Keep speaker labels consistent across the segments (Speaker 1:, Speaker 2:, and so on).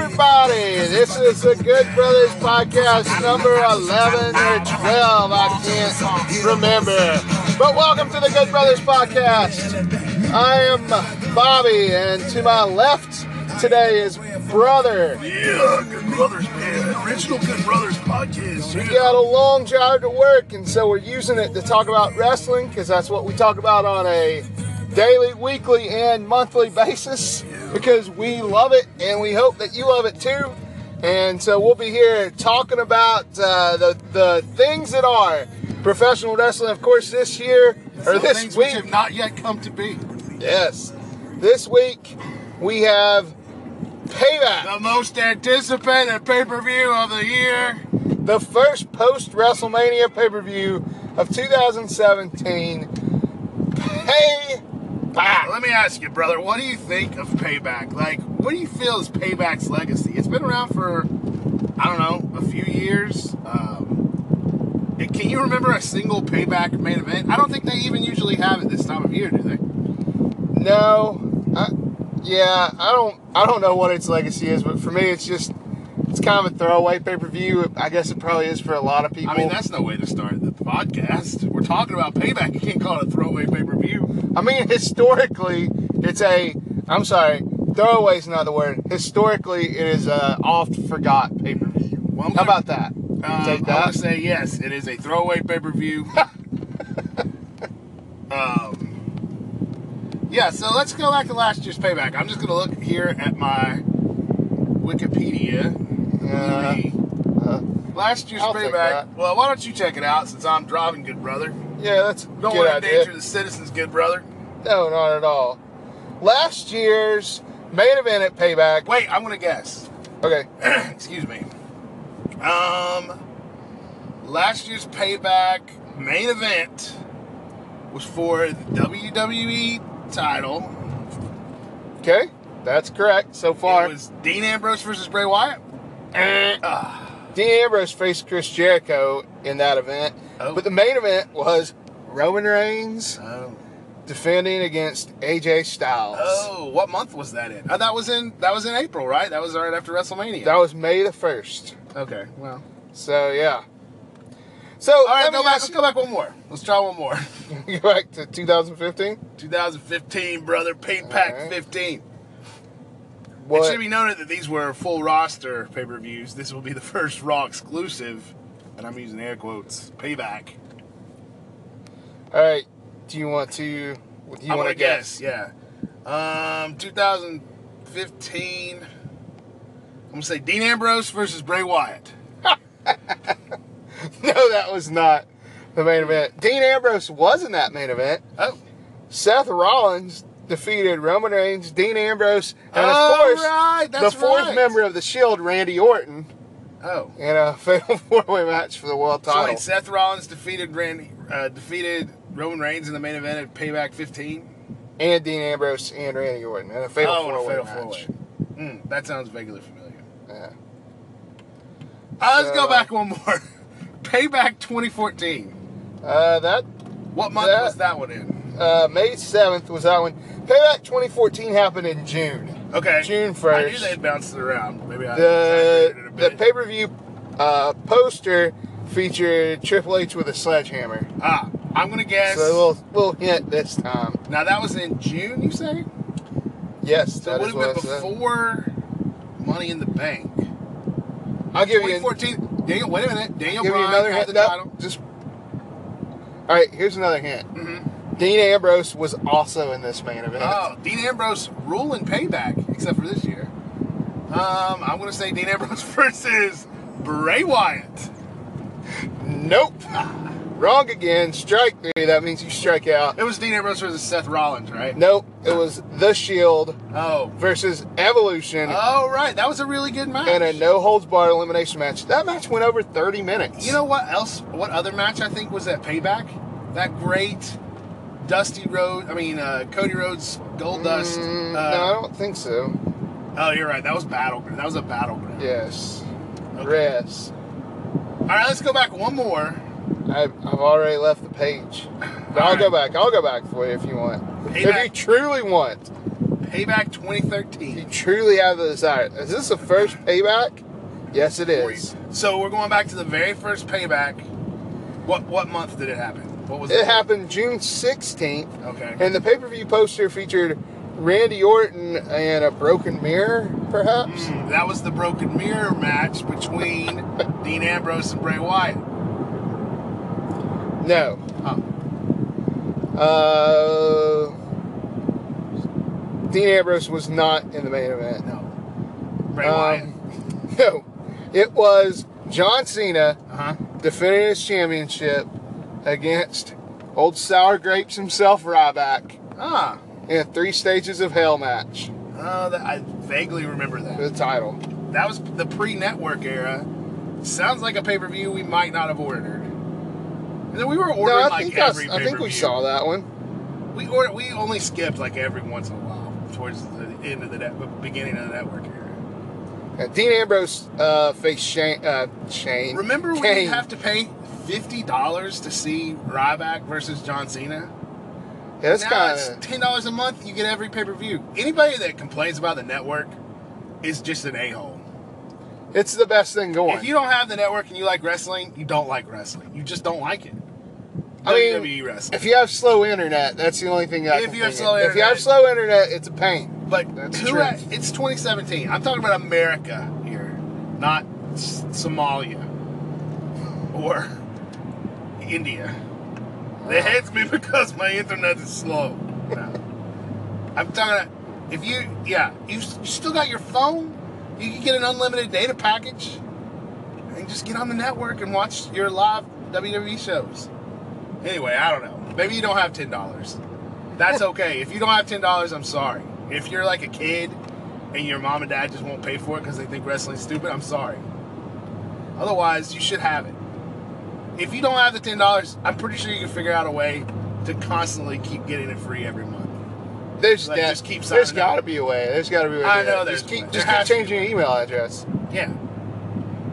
Speaker 1: Howdy, this is the Good Brothers podcast number 11 or 12. I can't remember. But welcome to the Good Brothers podcast. I am Bobby, and to my left today is Brother.
Speaker 2: Yeah, Good Brothers, man. Original Good Brothers podcast.
Speaker 1: We
Speaker 2: yeah.
Speaker 1: got a long drive to work, and so we're using it to talk about wrestling because that's what we talk about on a daily, weekly, and monthly basis because we love it and we hope that you love it too. And so we'll be here talking about uh, the, the things that are professional wrestling. Of course, this year or
Speaker 3: Some
Speaker 1: this
Speaker 3: things which
Speaker 1: week,
Speaker 3: have not yet come to be.
Speaker 1: yes, this week we have Payback,
Speaker 3: The most anticipated pay per view of the year.
Speaker 1: the first post WrestleMania pay per view of 2017. Payback.
Speaker 3: Let me ask you, brother, what do you think of Payback? Like, what do you feel is Payback's legacy? It's been around for, I don't know, a few years. Um, and can you remember a single Payback main event? I don't think they even usually have it this time of year, do they?
Speaker 1: No, I, yeah, I don't. I don't know what its legacy is, but for me, it's just it's kind of a throwaway pay per view. I guess it probably is for a lot of people.
Speaker 3: I mean, that's no way to start the podcast. We're talking about Payback. You can't call it a throwaway pay per view.
Speaker 1: I mean, historically, it's a. I'm sorry, throwaway is not the word. Historically, it is a oft forgot pay per view.
Speaker 3: Well, I'm
Speaker 1: How
Speaker 3: gonna-
Speaker 1: about that?
Speaker 3: Um,
Speaker 1: Take
Speaker 3: I
Speaker 1: that.
Speaker 3: would say yes. It is a throwaway pay per view. um, yeah, so let's go back to last year's payback. I'm just going to look here at my Wikipedia.
Speaker 1: Uh, uh,
Speaker 3: last year's
Speaker 1: I'll take
Speaker 3: payback.
Speaker 1: that.
Speaker 3: Well, why don't you check it out since I'm driving, good brother?
Speaker 1: yeah, that's a
Speaker 3: Don't
Speaker 1: good
Speaker 3: want to endanger
Speaker 1: idea.
Speaker 3: the citizens, good brother.
Speaker 1: No, not at all. Last year's main event at Payback.
Speaker 3: Wait, I'm going to guess.
Speaker 1: Okay,
Speaker 3: Excuse me. Um, last year's payback main event was for the WWE title.
Speaker 1: okay, that's correct so far.
Speaker 3: It was Dean Ambrose versus Bray Wyatt.
Speaker 1: Dean Ambrose faced Chris Jericho in that event,
Speaker 3: Oh.
Speaker 1: but the main event was Roman Reigns
Speaker 3: Oh.
Speaker 1: defending against AJ Styles.
Speaker 3: Oh, what month was that in? Oh, that was in that was in April, right? That was right after WrestleMania.
Speaker 1: That was May the first.
Speaker 3: okay. Well.
Speaker 1: So yeah. So
Speaker 3: All right,
Speaker 1: let me
Speaker 3: go back.
Speaker 1: ask
Speaker 3: Let's go back one more. Let's try one more.
Speaker 1: you- go back to 2015.
Speaker 3: 2015, brother. Payback
Speaker 1: right.
Speaker 3: 15. It
Speaker 1: What?
Speaker 3: should be noted that these were full roster pay per views. This will be the first Raw exclusive, and I'm using air quotes. Payback.
Speaker 1: All right. Do you want to? Do you
Speaker 3: I
Speaker 1: want
Speaker 3: wanna
Speaker 1: to guess?
Speaker 3: Yeah. Um, 2015. I'm gonna say Dean Ambrose versus Bray Wyatt.
Speaker 1: No, that was not the main event. Dean Ambrose was in that main event.
Speaker 3: Oh.
Speaker 1: Seth Rollins defeated Roman Reigns, Dean Ambrose, and
Speaker 3: Oh,
Speaker 1: of course
Speaker 3: right,
Speaker 1: the
Speaker 3: that's
Speaker 1: fourth
Speaker 3: right.
Speaker 1: member of the Shield, Randy Orton,
Speaker 3: Oh.
Speaker 1: in a fatal four-way match for the world
Speaker 3: So
Speaker 1: title.
Speaker 3: wait, Seth Rollins defeated Randy, uh, defeated Roman Reigns in the main event at Payback 15.
Speaker 1: and Dean Ambrose and Randy Orton in a fatal
Speaker 3: Oh, in a
Speaker 1: four-way
Speaker 3: fatal
Speaker 1: match.
Speaker 3: four-way. Mm, that sounds vaguely familiar.
Speaker 1: Yeah.
Speaker 3: Uh, let's go
Speaker 1: So-
Speaker 3: back one more. Payback 2014.
Speaker 1: Uh, that
Speaker 3: What month
Speaker 1: That-
Speaker 3: was that one in?
Speaker 1: uh, May seventh was that one. Payback 2014 happened in June.
Speaker 3: Okay.
Speaker 1: June
Speaker 3: I knew
Speaker 1: 1st.
Speaker 3: they bounced it around. Maybe I
Speaker 1: The
Speaker 3: exaggerated it a
Speaker 1: the
Speaker 3: bit.
Speaker 1: pay-per-view uh, poster featured Triple H with a sledgehammer.
Speaker 3: Ah, I'm gonna guess.
Speaker 1: So a little little hint this time.
Speaker 3: now that was in June, you say?
Speaker 1: Yes,
Speaker 3: So it
Speaker 1: that
Speaker 3: would
Speaker 1: is
Speaker 3: have
Speaker 1: what
Speaker 3: been
Speaker 1: I said.
Speaker 3: before Money in the Bank.
Speaker 1: I'll give you an-
Speaker 3: 2014. Daniel, wait a minute. Daniel
Speaker 1: give you
Speaker 3: Bryan
Speaker 1: another
Speaker 3: had
Speaker 1: hint.
Speaker 3: the
Speaker 1: No,
Speaker 3: title.
Speaker 1: just all right. Here's another hint. Dean Ambrose was also in this main event.
Speaker 3: Mm-hmm. Oh, Dean Ambrose ruling payback, except for this year. Um, I'm gonna say Dean Ambrose versus Bray Wyatt.
Speaker 1: Nope. Wrong again. Strike three. That means you strike out.
Speaker 3: It was Dean Ambrose versus Seth Rollins, right?
Speaker 1: Nope. It was The Shield
Speaker 3: Oh.
Speaker 1: versus Evolution
Speaker 3: Oh right, that was a really good match.
Speaker 1: in a no holds barred elimination match. That match went over 30 minutes.
Speaker 3: You know what else? What other match I think was at Payback? That great Dusty Road. I mean, uh, Cody Rhodes, Gold Dust.
Speaker 1: Mm, no, I
Speaker 3: uh,
Speaker 1: don't think so.
Speaker 3: Oh, you're right. That was Battleground. That was a Battleground.
Speaker 1: Yes.
Speaker 3: Okay.
Speaker 1: Yes.
Speaker 3: All right, let's go back one more.
Speaker 1: I, I've already left the page. But I'll
Speaker 3: All right.
Speaker 1: go back. I'll go back for you if you want.
Speaker 3: Hey,
Speaker 1: if
Speaker 3: back.
Speaker 1: you truly want.
Speaker 3: Payback 2013.
Speaker 1: You
Speaker 3: 2015.
Speaker 1: truly have the desire. Is this the first payback? Yes, it is.
Speaker 3: So we're going back to the very first payback. What what month did it happen? What was
Speaker 1: It happened June 16th,
Speaker 3: Okay.
Speaker 1: and the pay per view poster featured Randy Orton and a broken mirror, perhaps.
Speaker 3: Mm, that was the broken mirror match between Dean Ambrose and Bray Wyatt.
Speaker 1: No.
Speaker 3: Oh.
Speaker 1: Uh, Dean Ambrose was not in the main event.
Speaker 3: No. Bray
Speaker 1: Um,
Speaker 3: Wyatt.
Speaker 1: No. It was John Cena
Speaker 3: Uh-huh.
Speaker 1: defending his championship against old Sour Grapes himself, Ryback,
Speaker 3: Ah.
Speaker 1: in a three stages of hell match
Speaker 3: Uh, that, I vaguely remember that.
Speaker 1: for the title.
Speaker 3: That was the pre-network era. Sounds like a pay-per-view we might not have ordered. And then we were ordering
Speaker 1: No, I
Speaker 3: like
Speaker 1: think, that's-
Speaker 3: every
Speaker 1: I think we
Speaker 3: pay-per-view.
Speaker 1: saw that one.
Speaker 3: We ordered. We only skipped like every once in a while towards the end of the net, beginning of the network era.
Speaker 1: Yeah, Dean Ambrose uh, faced Shane. Uh, Shane
Speaker 3: Remember when
Speaker 1: Kane.
Speaker 3: you have to pay fifty dollars to see Ryback versus John Cena?
Speaker 1: Yeah, that's
Speaker 3: now
Speaker 1: kind
Speaker 3: it's
Speaker 1: of.
Speaker 3: ten dollars a month. You get every pay-per-view. Anybody that complains about the network is just an a-hole.
Speaker 1: It's the best thing going.
Speaker 3: If you don't have the network and you like wrestling, you don't like wrestling. You just don't like it.
Speaker 1: I mean,
Speaker 3: WWE wrestling.
Speaker 1: If you have slow internet, that's the only thing. I
Speaker 3: If
Speaker 1: can
Speaker 3: you have
Speaker 1: think of.
Speaker 3: slow
Speaker 1: if you have
Speaker 3: internet-
Speaker 1: slow internet, it's a pain.
Speaker 3: But
Speaker 1: That's
Speaker 3: who
Speaker 1: true.
Speaker 3: at- it's 2017. I'm talking about America here, not S- Somalia or India. They hates me because my internet is slow. No. I'm talking. about- If you, yeah, you, s- you still got your phone. You can get an unlimited data package, and just get on the network and watch your live WWE shows. Anyway, I don't know. Maybe you don't have ten dollars. That's okay. If you don't have ten dollars, I'm sorry. If you're like a kid and your mom and dad just won't pay for it because they think wrestling's stupid, I'm sorry. Otherwise, you should have it. If you don't have the ten dollars, I'm pretty sure you can figure out a way to constantly keep getting it free every month.
Speaker 1: There's
Speaker 3: Like,
Speaker 1: that.
Speaker 3: just keep
Speaker 1: there's
Speaker 3: signing
Speaker 1: got to
Speaker 3: up.
Speaker 1: be a way. There's got to be a way. to
Speaker 3: I
Speaker 1: do
Speaker 3: know
Speaker 1: it. Just
Speaker 3: there's
Speaker 1: keep,
Speaker 3: one.
Speaker 1: just
Speaker 3: There
Speaker 1: keep
Speaker 3: has to
Speaker 1: changing your email address.
Speaker 3: Yeah,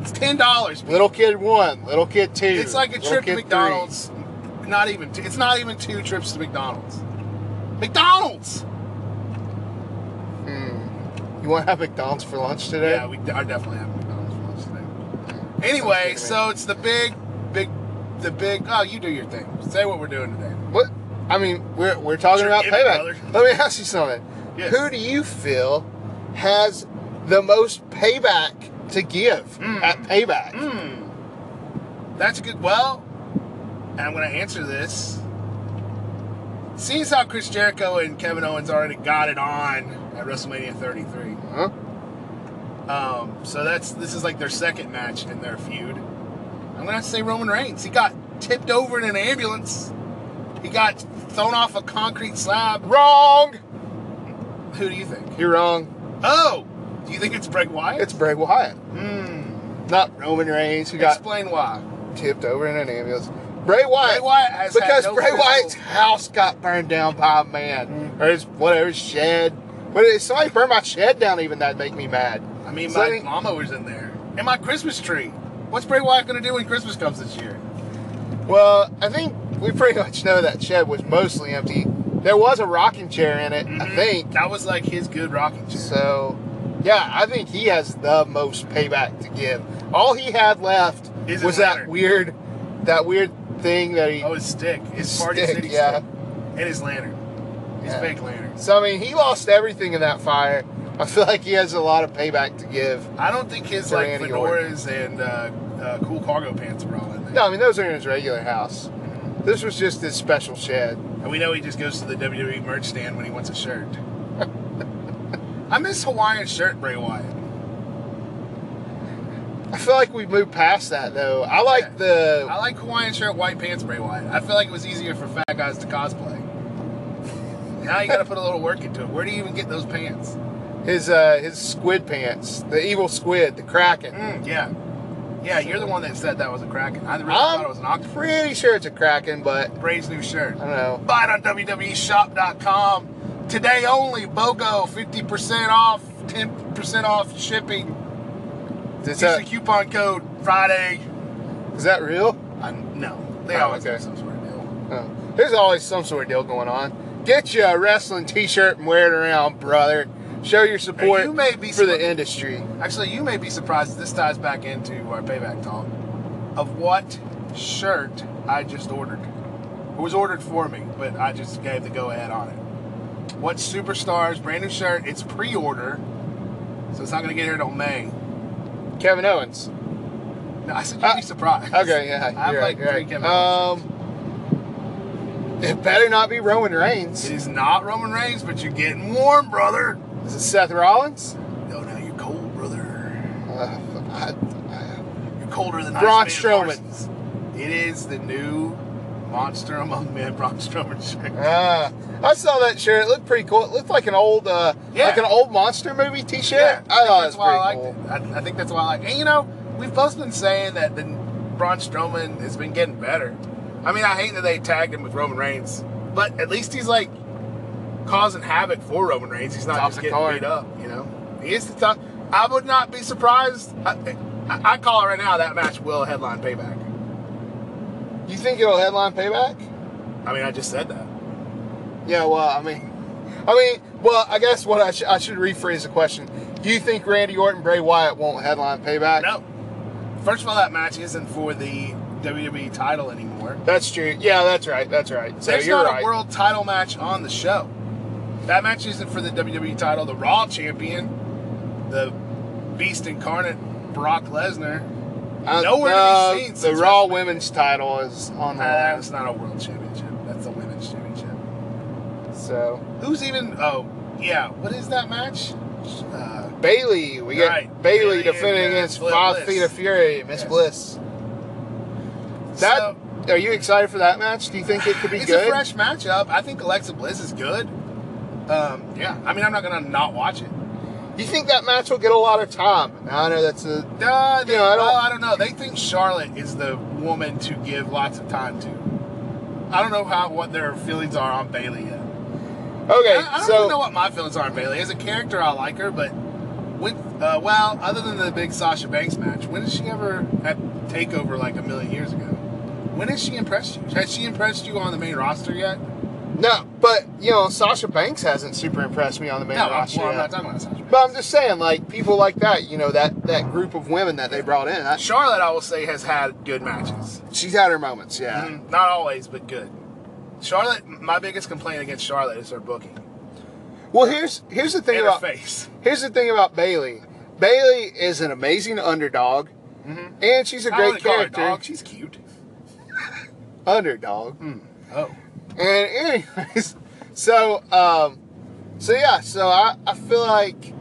Speaker 3: it's ten dollars.
Speaker 1: Little kid one, little kid two.
Speaker 3: It's like a
Speaker 1: little
Speaker 3: trip
Speaker 1: kid
Speaker 3: to
Speaker 1: three.
Speaker 3: McDonald's. Not even. Two, it's not even two trips to McDonald's. McDonald's.
Speaker 1: Hmm. You want to have McDonald's for lunch today?
Speaker 3: Yeah, we are definitely having McDonald's for lunch today. Anyway, so it's the big, big, the big. Oh, you do your thing. Say what we're doing today.
Speaker 1: What? I mean, we're, we're talking
Speaker 3: Sure,
Speaker 1: about
Speaker 3: give it,
Speaker 1: payback.
Speaker 3: brother.
Speaker 1: Let me ask you something.
Speaker 3: Yeah.
Speaker 1: Who do you feel has the most payback to give
Speaker 3: Mm.
Speaker 1: at payback?
Speaker 3: Hmm. That's a good. Well, I'm going to answer this. Seeing as how Chris Jericho and Kevin Owens already got it on at WrestleMania 33,
Speaker 1: Huh?
Speaker 3: um, so that's this is like their second match in their feud. I'm gonna have to say Roman Reigns. He got tipped over in an ambulance. He got thrown off a concrete slab.
Speaker 1: Wrong.
Speaker 3: Who do you think?
Speaker 1: You're wrong.
Speaker 3: Oh, do you think it's Bray Wyatt?
Speaker 1: It's Bray Wyatt,
Speaker 3: Hmm.
Speaker 1: not Roman Reigns, who got
Speaker 3: Explain why.
Speaker 1: tipped over in an ambulance. Bray Wyatt.
Speaker 3: Bray Wyatt has had
Speaker 1: because
Speaker 3: no
Speaker 1: Bray
Speaker 3: physical-
Speaker 1: Wyatt's house got burned down by a man
Speaker 3: Hmm.
Speaker 1: or his whatever his shed. What if somebody burned my shed down? Even that'd make me mad.
Speaker 3: I mean,
Speaker 1: So
Speaker 3: my
Speaker 1: they-
Speaker 3: mama was in there, and my Christmas tree. What's Bray Wyatt gonna do when Christmas comes this year?
Speaker 1: Well, I think we pretty much know that shed was mostly empty. There was a rocking chair in it, I
Speaker 3: Mhm.
Speaker 1: think.
Speaker 3: that was like his good rocking chair.
Speaker 1: So, yeah, I think he has the most payback to give. All he had left
Speaker 3: Is his
Speaker 1: was that
Speaker 3: lantern.
Speaker 1: weird, that weird thing that he.
Speaker 3: Oh, his stick, his party
Speaker 1: Stick,
Speaker 3: city
Speaker 1: yeah.
Speaker 3: stick, and his lantern, his
Speaker 1: Yeah.
Speaker 3: fake lantern.
Speaker 1: So I mean, he lost everything in that fire. I feel like he has a lot of payback to give.
Speaker 3: I don't think his
Speaker 1: Or
Speaker 3: like
Speaker 1: Andy
Speaker 3: fedoras and uh, uh, cool cargo pants were all in there.
Speaker 1: No, I mean those are in his regular house. This was just his special shed.
Speaker 3: And we know he just goes to the WWE merch stand when he wants a shirt. I miss Hawaiian shirt Bray Wyatt.
Speaker 1: I feel like we've moved past that though. I like
Speaker 3: Yeah.
Speaker 1: the
Speaker 3: I like Hawaiian shirt, white pants Bray Wyatt. I feel like it was easier for fat guys to cosplay. now you got to put a little work into it. Where do you even get those pants?
Speaker 1: his uh, his squid pants, the evil squid, the kraken.
Speaker 3: Mm, yeah, yeah. You're the one that said that was a kraken. I really
Speaker 1: I'm
Speaker 3: thought it was an octopus.
Speaker 1: pretty sure it's a kraken, but
Speaker 3: Bray's new shirt.
Speaker 1: I don't know.
Speaker 3: Buy it on E WWEshop.com. Today only, BOGO, 50% off, 10% off shipping.
Speaker 1: Is
Speaker 3: Use the
Speaker 1: that
Speaker 3: coupon code Friday.
Speaker 1: is that real?
Speaker 3: I, no, they
Speaker 1: Oh,
Speaker 3: always
Speaker 1: okay.
Speaker 3: have some sort of deal.
Speaker 1: Oh. There's always some sort of deal going on. Get you a wrestling T-shirt and wear it around, brother. Show your support
Speaker 3: You may be
Speaker 1: for
Speaker 3: smart.
Speaker 1: the industry.
Speaker 3: Actually, you may be surprised. This ties back into our payback talk of what shirt I just ordered. It was ordered for me, but I just gave the go ahead on it. What superstars? Brand new shirt. It's pre-order, so it's not gonna get here till May.
Speaker 1: Kevin Owens.
Speaker 3: No, I said you'd
Speaker 1: Uh,
Speaker 3: be surprised.
Speaker 1: Okay, yeah.
Speaker 3: I have
Speaker 1: you're right,
Speaker 3: like
Speaker 1: you're
Speaker 3: three
Speaker 1: right.
Speaker 3: Kevin Owens.
Speaker 1: Um, it better not be Roman
Speaker 3: It
Speaker 1: Reigns.
Speaker 3: is not Roman Reigns, but you're getting warm, brother.
Speaker 1: Is it Seth Rollins?
Speaker 3: No, no, you're cold, brother.
Speaker 1: Uh, I, I,
Speaker 3: You're colder than
Speaker 1: Braun
Speaker 3: Ice Man
Speaker 1: Strowman.
Speaker 3: Parsons. It is the new monster among men, Braun Strowman shirt.
Speaker 1: Ah, I saw that shirt. It looked pretty cool. It looked like an old, uh,
Speaker 3: Yeah.
Speaker 1: like an old monster movie T-shirt.
Speaker 3: Yeah,
Speaker 1: I thought it was
Speaker 3: that's why I
Speaker 1: pretty
Speaker 3: liked
Speaker 1: cool.
Speaker 3: it. I, I think that's why I like. And you know, we've both been saying that the Braun Strowman has been getting better. I mean, I hate that they tagged him with Roman Reigns, but at least he's like causing havoc for Roman Reigns. He's not
Speaker 1: Top
Speaker 3: just
Speaker 1: of the
Speaker 3: getting
Speaker 1: card.
Speaker 3: beat up. You know, he is the top. I would not be surprised. I, I, I call it right now. That match will headline payback.
Speaker 1: You think it'll headline payback?
Speaker 3: I mean, I just said that.
Speaker 1: Yeah. Well, I mean, I mean, well, I guess what I, sh- I should rephrase the question. You think Randy Orton Bray Wyatt won't headline payback?
Speaker 3: No. First of all, that match isn't for the WWE title anymore.
Speaker 1: That's true. Yeah, that's right. That's right. So
Speaker 3: There's
Speaker 1: you're
Speaker 3: not
Speaker 1: right.
Speaker 3: a world title match on the show. That match isn't for the WWE title. The Raw champion, the Beast incarnate Brock Lesnar.
Speaker 1: I-
Speaker 3: nowhere to
Speaker 1: no,
Speaker 3: be seen
Speaker 1: The
Speaker 3: since
Speaker 1: Raw
Speaker 3: WrestleMania. Uh-huh.
Speaker 1: Women's title is on the line.
Speaker 3: Uh, That's not a world championship. That's a women's championship.
Speaker 1: So
Speaker 3: Who's even? Oh, yeah. What is that match? Uh,
Speaker 1: Bailey, we got
Speaker 3: Right.
Speaker 1: Bailey
Speaker 3: Bayley
Speaker 1: defending
Speaker 3: and, uh,
Speaker 1: against
Speaker 3: Bliss.
Speaker 1: Five Feet of Fury, Miss
Speaker 3: Yes.
Speaker 1: Bliss. That
Speaker 3: So-
Speaker 1: are you excited for that match? Do you think it could be
Speaker 3: it's
Speaker 1: good?
Speaker 3: a fresh matchup. I think Alexa Bliss is good. Um, yeah. I mean, I'm not gonna not watch it.
Speaker 1: you think that match will get a lot of time? Now I know that's a
Speaker 3: Uh, they,
Speaker 1: You know, I don't-
Speaker 3: well, I don't know. They think Charlotte is the woman to give lots of time to. I don't know how what their feelings are on Bailey yet.
Speaker 1: okay.
Speaker 3: uh, I, I don't
Speaker 1: so
Speaker 3: even know what my feelings are on Bailey. As a character, I like her, but when, uh, well, other than the big Sasha Banks match, when did she ever at Takeover like a million years ago? When has she impressed you? Has she impressed you on the main roster yet?
Speaker 1: no, but you know Sasha Banks hasn't super impressed me on the main
Speaker 3: no,
Speaker 1: roster.
Speaker 3: well, I'm
Speaker 1: yet.
Speaker 3: not talking about Sasha. Banks.
Speaker 1: but I'm just saying, like people like that, you know that that group of women that they brought in, that,
Speaker 3: Charlotte, I will say, has had good matches.
Speaker 1: she's had her moments. Yeah.
Speaker 3: Mm, Not always, but good. Charlotte, my biggest complaint against Charlotte is her booking.
Speaker 1: Well, here's here's the thing
Speaker 3: in
Speaker 1: about
Speaker 3: her face.
Speaker 1: Here's the thing about Bailey. Bailey is an amazing underdog, and she's a
Speaker 3: Mm-hmm. I
Speaker 1: great
Speaker 3: wouldn't call her
Speaker 1: character.
Speaker 3: dog. She's cute.
Speaker 1: Underdog.
Speaker 3: Oh.
Speaker 1: And anyways, so um, so yeah, so I, I feel like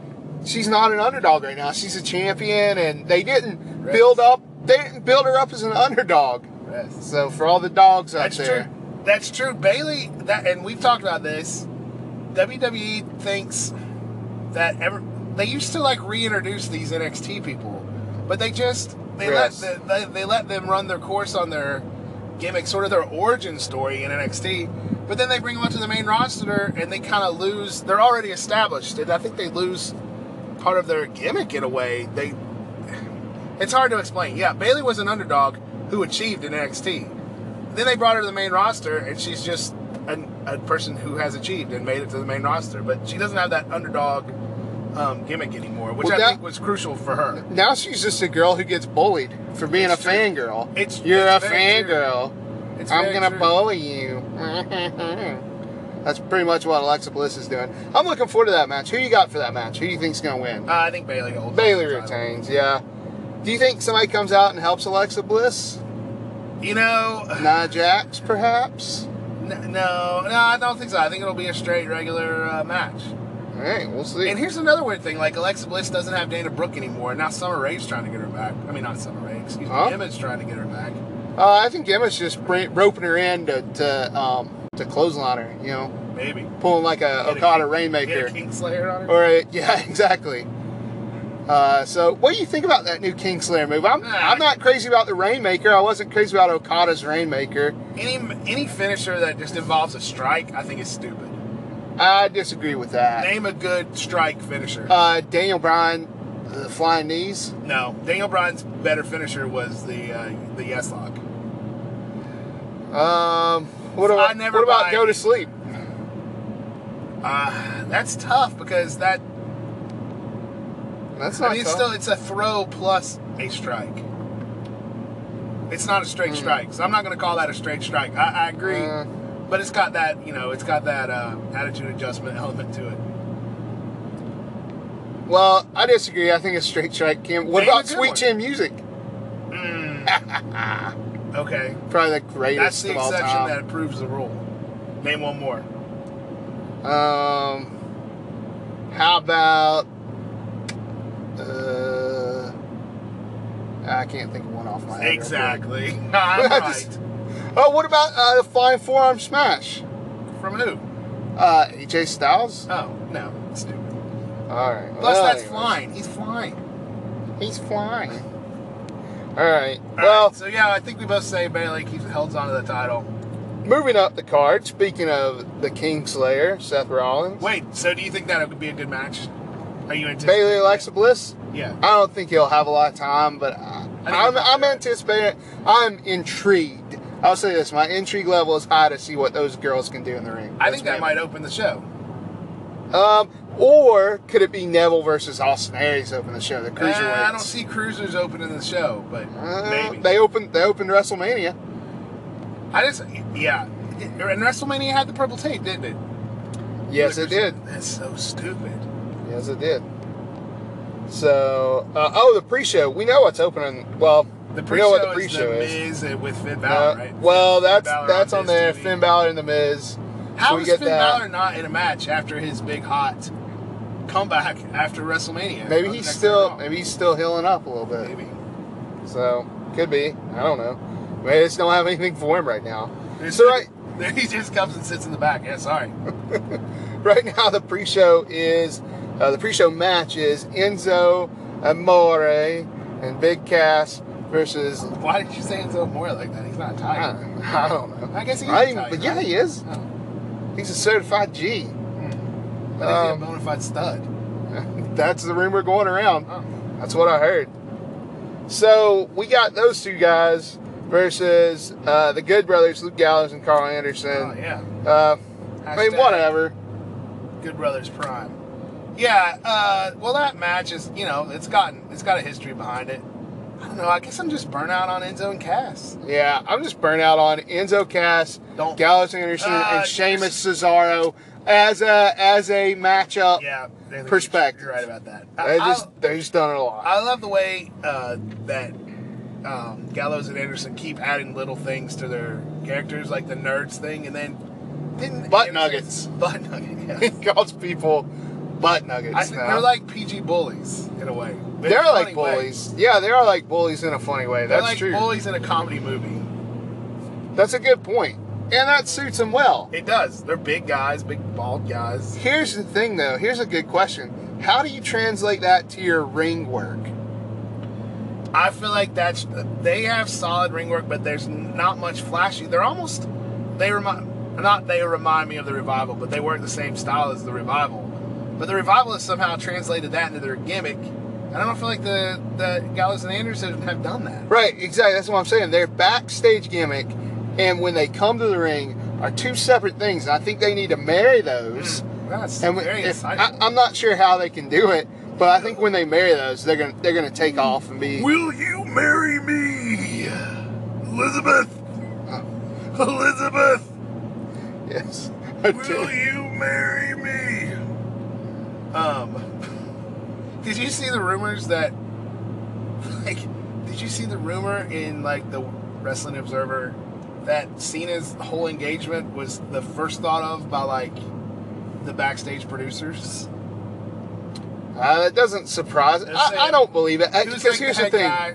Speaker 1: she's not an underdog right now. She's a champion, and they didn't
Speaker 3: Right.
Speaker 1: build up. They didn't build her up as an underdog.
Speaker 3: Rest.
Speaker 1: So for all the dogs out
Speaker 3: That's
Speaker 1: there,
Speaker 3: true. That's true. Bailey that and we've talked about this. WWE thinks that ever they used to like reintroduce these NXT people, but they just they
Speaker 1: Yes.
Speaker 3: let the, they, they let them run their course on their gimmick, sort of their origin story in NXT. But then they bring them up to the main roster and they kind of lose. They're already established, and I think they lose part of their gimmick in a way. They it's hard to explain. Yeah, Bailey was an underdog who achieved in NXT. Then they brought her to the main roster, and she's just an, a person who has achieved and made it to the main roster. But she doesn't have that underdog um, gimmick anymore, which
Speaker 1: Well,
Speaker 3: I
Speaker 1: that-
Speaker 3: think was crucial for her.
Speaker 1: now she's just a girl who gets bullied for being
Speaker 3: It's
Speaker 1: a
Speaker 3: true.
Speaker 1: fangirl.
Speaker 3: It's-
Speaker 1: you're
Speaker 3: it's
Speaker 1: a
Speaker 3: very true.
Speaker 1: fangirl.
Speaker 3: It's
Speaker 1: I'm
Speaker 3: very
Speaker 1: gonna
Speaker 3: true.
Speaker 1: bully you. That's pretty much what Alexa Bliss is doing. I'm looking forward to that match. Who you got for that match? Who do you think's gonna win?
Speaker 3: Uh, I think Bailey holds.
Speaker 1: Bailey
Speaker 3: the title.
Speaker 1: retains. Yeah. Do you think somebody comes out and helps Alexa Bliss?
Speaker 3: You know,
Speaker 1: Nia Jax, perhaps.
Speaker 3: n- no, no, I don't think so. I think it'll be a straight regular uh, match.
Speaker 1: All right, we'll see.
Speaker 3: And here's another weird thing: like Alexa Bliss doesn't have Dana Brooke anymore. Now Summer Rae's trying to get her back. I mean, not Summer Rae. Excuse
Speaker 1: Huh?
Speaker 3: me. Emma's trying to get her back.
Speaker 1: uh, I think Emma's just br- roping her in to to, um, to clothesline her. You know,
Speaker 3: Maybe.
Speaker 1: pulling like a
Speaker 3: Get a
Speaker 1: Okada
Speaker 3: King-
Speaker 1: Rainmaker.
Speaker 3: Get a Kingslayer on her.
Speaker 1: Or a, yeah, exactly. Uh, so, what do you think about that new Kingslayer move? I'm,
Speaker 3: Ah.
Speaker 1: I'm not crazy about the Rainmaker. I wasn't crazy about Okada's Rainmaker.
Speaker 3: any any finisher that just involves a strike, I think is stupid.
Speaker 1: I disagree with that.
Speaker 3: Name a good strike finisher.
Speaker 1: Uh, Daniel Bryan, the flying knees.
Speaker 3: no, Daniel Bryan's better finisher was the uh, the yes lock.
Speaker 1: Um, what about,
Speaker 3: I never
Speaker 1: what about
Speaker 3: buy-
Speaker 1: go to sleep?
Speaker 3: Uh, that's tough because that
Speaker 1: That's
Speaker 3: I
Speaker 1: not
Speaker 3: mean, it's
Speaker 1: tough.
Speaker 3: still it's a throw plus a strike. It's not a straight strike, so I'm not going to call that a straight strike. I, I agree,
Speaker 1: Uh.
Speaker 3: but it's got that you know, it's got that uh, attitude adjustment element to it.
Speaker 1: Well, I disagree. I think it's straight strike. Kim, what
Speaker 3: Name a
Speaker 1: about
Speaker 3: good
Speaker 1: Sweet
Speaker 3: one.
Speaker 1: Chin Music?
Speaker 3: Hmm. Okay,
Speaker 1: Probably the greatest
Speaker 3: that's the
Speaker 1: of all
Speaker 3: exception
Speaker 1: time.
Speaker 3: that proves the rule. Name one more.
Speaker 1: Um, how about? Uh, I can't think of one off my head. right
Speaker 3: Exactly. I'm
Speaker 1: I
Speaker 3: right.
Speaker 1: just- quick. Oh, what about uh, the flying forearm smash?
Speaker 3: From who?
Speaker 1: Uh, AJ Styles.
Speaker 3: Oh no, stupid.
Speaker 1: All right.
Speaker 3: Plus,
Speaker 1: Well,
Speaker 3: that's
Speaker 1: anyways.
Speaker 3: flying. He's flying.
Speaker 1: He's flying. All right.
Speaker 3: All right,
Speaker 1: Well,
Speaker 3: so yeah, I think we both say Bailey keeps holds on to the title.
Speaker 1: moving up the card. Speaking of the Kingslayer, Seth Rollins,
Speaker 3: Wait, so do you think that would be a good match? Are you anticipating?
Speaker 1: Bailey Alexa Bliss.
Speaker 3: Yeah.
Speaker 1: I don't think he'll have a lot of time, but I,
Speaker 3: I think
Speaker 1: I'm,
Speaker 3: he'll have
Speaker 1: I'm
Speaker 3: it.
Speaker 1: anticipating. I'm intrigued. I'll say this: my intrigue level is high to see what those girls can do in the ring.
Speaker 3: I think that
Speaker 1: That's
Speaker 3: might open the show.
Speaker 1: my- Um, or could it be Neville versus Austin Aries open the show? The
Speaker 3: Uh,
Speaker 1: cruiserweights.
Speaker 3: I don't see cruisers opening the show, but
Speaker 1: Uh,
Speaker 3: maybe.
Speaker 1: They opened. They opened WrestleMania.
Speaker 3: I just, yeah. And WrestleMania had the purple tape, didn't it?
Speaker 1: Yes, it did.
Speaker 3: That's so stupid.
Speaker 1: Yes, it did. So, uh, oh, the pre-show. We know what's opening. Well, we
Speaker 3: The
Speaker 1: know
Speaker 3: pre-show
Speaker 1: what the
Speaker 3: is the
Speaker 1: pre-show eh? is.
Speaker 3: Miz and- with Finn
Speaker 1: Uh,
Speaker 3: Balor, right?
Speaker 1: Well,
Speaker 3: Finn
Speaker 1: that's
Speaker 3: Balor
Speaker 1: that's on
Speaker 3: Miz
Speaker 1: there.
Speaker 3: TV.
Speaker 1: Finn Balor and the Miz.
Speaker 3: How
Speaker 1: we
Speaker 3: is
Speaker 1: get
Speaker 3: Finn
Speaker 1: that.
Speaker 3: Balor not in a match after his big hot comeback after WrestleMania?
Speaker 1: Maybe
Speaker 3: on the
Speaker 1: he's
Speaker 3: next
Speaker 1: still
Speaker 3: Raw?
Speaker 1: maybe he's still healing up a little bit.
Speaker 3: Maybe.
Speaker 1: So could be. I don't know. Maybe they just don't have anything for him right now.
Speaker 3: It's
Speaker 1: So right
Speaker 3: He just comes and sits in the back. Yeah, sorry.
Speaker 1: right now the pre-show is uh, the pre-show match is Enzo Amore and Big Cass versus
Speaker 3: Why did you say Enzo More like that? He's not
Speaker 1: I,
Speaker 3: tired.
Speaker 1: I don't know.
Speaker 3: I guess he is
Speaker 1: I even-
Speaker 3: Italian,
Speaker 1: but yeah,
Speaker 3: right?
Speaker 1: he is.
Speaker 3: Oh.
Speaker 1: He's a certified G.
Speaker 3: I
Speaker 1: Um,
Speaker 3: think he's a bona fide stud.
Speaker 1: That's the rumor going around.
Speaker 3: Oh.
Speaker 1: That's what I heard. So we got those two guys versus uh, the Good Brothers, Luke Gallows and Carl
Speaker 3: Oh,
Speaker 1: Anderson.
Speaker 3: yeah.
Speaker 1: Uh, I mean,
Speaker 3: Hashtag
Speaker 1: whatever.
Speaker 3: Good Brothers Prime. Yeah, uh, well, that match is, you know, it's gotten, it's got a history behind it. I don't know. I guess I'm just burnt out on Enzo and Cass.
Speaker 1: Yeah, I'm just burnt out on Enzo Cass,
Speaker 3: Don't-
Speaker 1: Gallows Anderson,
Speaker 3: Ah,
Speaker 1: and Sheamus Cesaro as a as a matchup.
Speaker 3: Yeah. I think
Speaker 1: Perspective.
Speaker 3: You're right about that.
Speaker 1: They
Speaker 3: I-
Speaker 1: just they just done it a lot.
Speaker 3: I love the way uh, that um, Gallows and Anderson keep adding little things to their characters, like the nerds thing, and then didn't
Speaker 1: Butt nuggets.
Speaker 3: Anderson- butt nugget. Yeah.
Speaker 1: he calls people butt nuggets.
Speaker 3: I think
Speaker 1: now.
Speaker 3: they're like PG bullies in a way. In a
Speaker 1: they're like
Speaker 3: funny way.
Speaker 1: bullies. Yeah, they are like bullies in a funny way.
Speaker 3: They're
Speaker 1: That's
Speaker 3: like
Speaker 1: true.
Speaker 3: bullies in a comedy movie.
Speaker 1: That's a good point, and that suits them well.
Speaker 3: It does. They're big guys, big bald guys.
Speaker 1: Here's the thing, though. Here's a good question. How do you translate that to your ring work?
Speaker 3: I feel like that's they have solid ring work, but there's not much flashy. They're almost they remind not they remind me of the revival, but they weren't the same style as the revival. But the revival has somehow translated that into their gimmick, and I don't feel like the the Gallows and Anderson have done that.
Speaker 1: Right, exactly. That's what I'm saying. Their backstage gimmick and when they come to the ring are two separate things. And I think they need to marry those.
Speaker 3: That's
Speaker 1: And when-
Speaker 3: Hmm. very
Speaker 1: if, I,
Speaker 3: insightful.
Speaker 1: I'm not sure how they can do it, but I think when they marry those, they're gonna they're gonna take off and
Speaker 3: Hmm.
Speaker 1: be.
Speaker 2: Will you marry me, Elizabeth?
Speaker 1: Oh.
Speaker 2: Elizabeth,
Speaker 1: Yes.
Speaker 2: will you marry me?
Speaker 3: Um, did you see the rumors that, like, did you see the rumor in like the Wrestling Observer that Cena's whole engagement was the first thought of by like the backstage producers?
Speaker 1: Uh, that doesn't surprise.
Speaker 3: They're
Speaker 1: I, I
Speaker 3: saying-
Speaker 1: don't believe it
Speaker 3: Who's,
Speaker 1: because
Speaker 3: like,
Speaker 1: here's the
Speaker 3: head
Speaker 1: thing.
Speaker 3: Guy,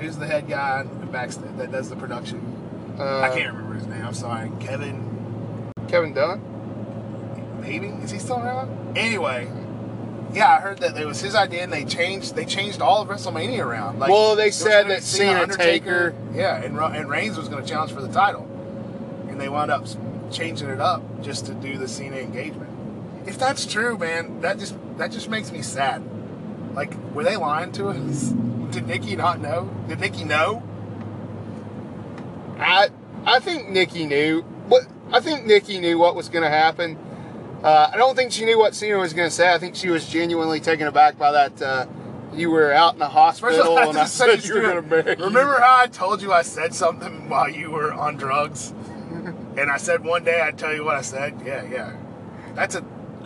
Speaker 3: who's the head guy in backstage that does the production?
Speaker 1: Uh,
Speaker 3: I can't remember his name. I'm sorry, Kevin.
Speaker 1: Kevin Dunn.
Speaker 3: Maybe is he still around? Anyway. Yeah, I heard that it was his idea, and they changed. They changed all of WrestleMania around. Like,
Speaker 1: Well, they
Speaker 3: there was
Speaker 1: said
Speaker 3: gonna be
Speaker 1: that Cena, Taker-
Speaker 3: yeah, and Ro- and Reigns was going to challenge for the title, and they wound up s- changing it up just to do the Cena engagement. If that's true, man, that just that just makes me sad. Like, were they lying to us? Did Nikki not know? Did Nikki know?
Speaker 1: I I think Nikki knew what I think Nikki knew what was going to happen. Uh, I don't think she knew what Cena was going to say. I think she was genuinely taken aback by that uh, you were out in the hospital
Speaker 3: I
Speaker 1: and I
Speaker 3: just said
Speaker 1: said you were
Speaker 3: do
Speaker 1: going to
Speaker 3: it.
Speaker 1: bury you.
Speaker 3: Remember how I told you I said something while you were on drugs? and I said one day I'd tell you what I said? Yeah, yeah. That's a.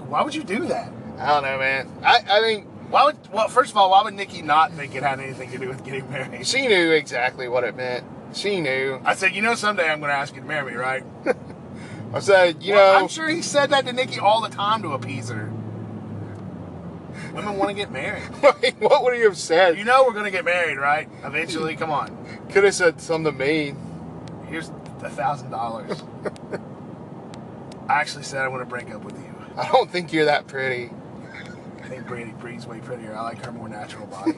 Speaker 3: Why would you do that?
Speaker 1: I don't know, man. I, I think
Speaker 3: Why would. Well, first of all, why would Nikki not think it had anything to do with getting married?
Speaker 1: she knew exactly what it meant. She knew.
Speaker 3: I said, you know, someday I'm going to ask you to marry me, right?
Speaker 1: I said, you
Speaker 3: Well,
Speaker 1: know,
Speaker 3: I'm sure he said that to Nikki all the time to appease her. Women want to get married.
Speaker 1: like, what would he have said?
Speaker 3: You know we're going to get married, right? Eventually, come on.
Speaker 1: Could have said something mean.
Speaker 3: Here's a thousand dollars. I actually said I want to break up with you.
Speaker 1: I don't think you're that pretty.
Speaker 3: I think Brady Bree's way prettier. I like her more natural body.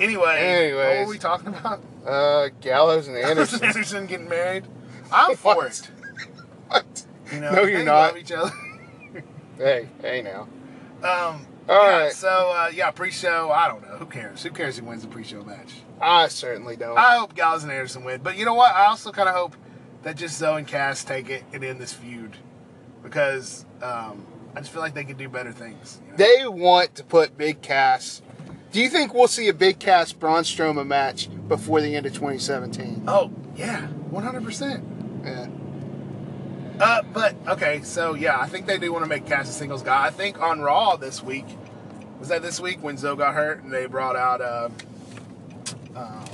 Speaker 3: anyway, what
Speaker 1: Anyways.
Speaker 3: were we talking about?
Speaker 1: Uh, Gallows and Anderson.
Speaker 3: Anderson getting married. I'm for it.
Speaker 1: What?
Speaker 3: You know,
Speaker 1: No,
Speaker 3: they
Speaker 1: you're
Speaker 3: love
Speaker 1: not.
Speaker 3: Each other.
Speaker 1: Hey, hey now.
Speaker 3: Um,
Speaker 1: All
Speaker 3: yeah,
Speaker 1: right.
Speaker 3: So uh, yeah, pre-show. I don't know. Who cares? Who cares who wins the pre-show match?
Speaker 1: I certainly don't.
Speaker 3: I hope Gallows and Anderson win. But you know what? I also kind of hope that just Zoe and Cass take it and end this feud because um, I just feel like they could do better things. you know?
Speaker 1: they want to put Big Cass. Do you think we'll see a Big Cass Braun Strowman match before the end of 2017?
Speaker 3: oh yeah, one hundred percent.
Speaker 1: Yeah.
Speaker 3: Uh, but okay, so yeah, I think they do want to make Cass a singles guy. I think on Raw this week was that this week when Zoe got hurt and they brought out uh, um,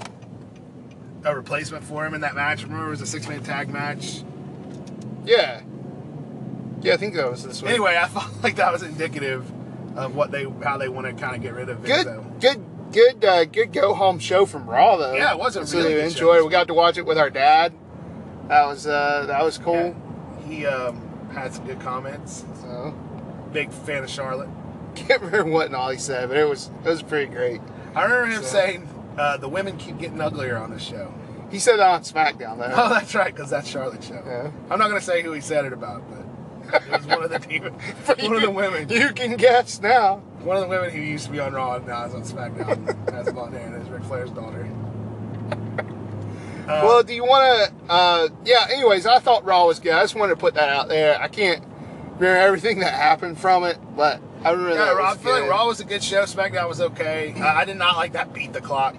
Speaker 3: a replacement for him in that match. Remember, it was a six-man tag match.
Speaker 1: Yeah. Yeah, I think that was this one.
Speaker 3: Anyway, I felt like that was indicative of what they how they want to kind of get rid of
Speaker 1: good,
Speaker 3: Vince.
Speaker 1: good, good, uh, good go home show from Raw though.
Speaker 3: Yeah, it was a
Speaker 1: so
Speaker 3: really good
Speaker 1: enjoy.
Speaker 3: show.
Speaker 1: We got to watch it with our dad. That was uh, that was
Speaker 3: So,
Speaker 1: cool.
Speaker 3: yeah, he um, had some good comments.
Speaker 1: So
Speaker 3: Big fan of Charlotte.
Speaker 1: can't remember what Nolly said, but it was it was pretty great.
Speaker 3: I remember him
Speaker 1: So-
Speaker 3: saying uh, the women keep getting uglier on this show.
Speaker 1: He said that on SmackDown though.
Speaker 3: Oh, that's right, because that's Charlotte's show.
Speaker 1: Yeah.
Speaker 3: I'm not gonna say who he said it about, but it was one of the people, one of the women,
Speaker 1: You can guess now.
Speaker 3: one of the women who used to be on Raw and now is on SmackDown. has blonde hair and is Ric Flair's daughter. Uh,
Speaker 1: well, do you want to? Uh, yeah. Anyways, I thought Raw was good. I just wanted to put that out there. I can't remember everything that happened from it, but I remember
Speaker 3: yeah,
Speaker 1: that
Speaker 3: Raw, I
Speaker 1: was
Speaker 3: feel
Speaker 1: good.
Speaker 3: like Raw was a good show. SmackDown was okay. I, I did not like that beat the clock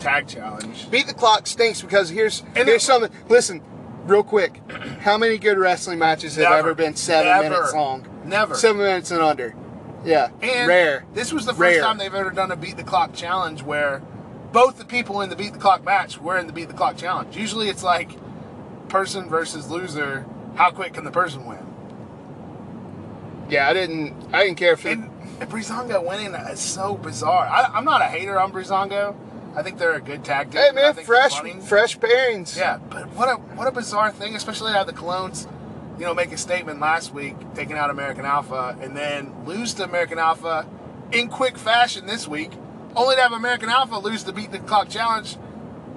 Speaker 3: tag challenge.
Speaker 1: Beat the clock stinks because here's
Speaker 3: And
Speaker 1: here's
Speaker 3: it-
Speaker 1: something. Listen, real quick, how many good wrestling matches have
Speaker 3: Never.
Speaker 1: ever been seven
Speaker 3: Never.
Speaker 1: minutes long?
Speaker 3: Never.
Speaker 1: Seven minutes and under. Yeah,
Speaker 3: And
Speaker 1: rare.
Speaker 3: This was the first
Speaker 1: Rare.
Speaker 3: time they've ever done a beat the clock challenge where both the people in the beat the clock match were in the beat the clock challenge. Usually it's like person versus loser. How quick can the person win?
Speaker 1: Yeah, I didn't I didn't care for.
Speaker 3: And, and Brizongo winning is so bizarre. I, I'm not a hater on Brizongo. I think they're a good tag team.
Speaker 1: hey
Speaker 3: I
Speaker 1: man,
Speaker 3: think they're
Speaker 1: fresh
Speaker 3: funny.
Speaker 1: fresh pairings.
Speaker 3: Yeah, but what a what a bizarre thing, especially how the Clones, you know, make a statement last week, taking out American Alpha, and then lose to American Alpha in quick fashion this week, only to have American Alpha lose the beat the clock challenge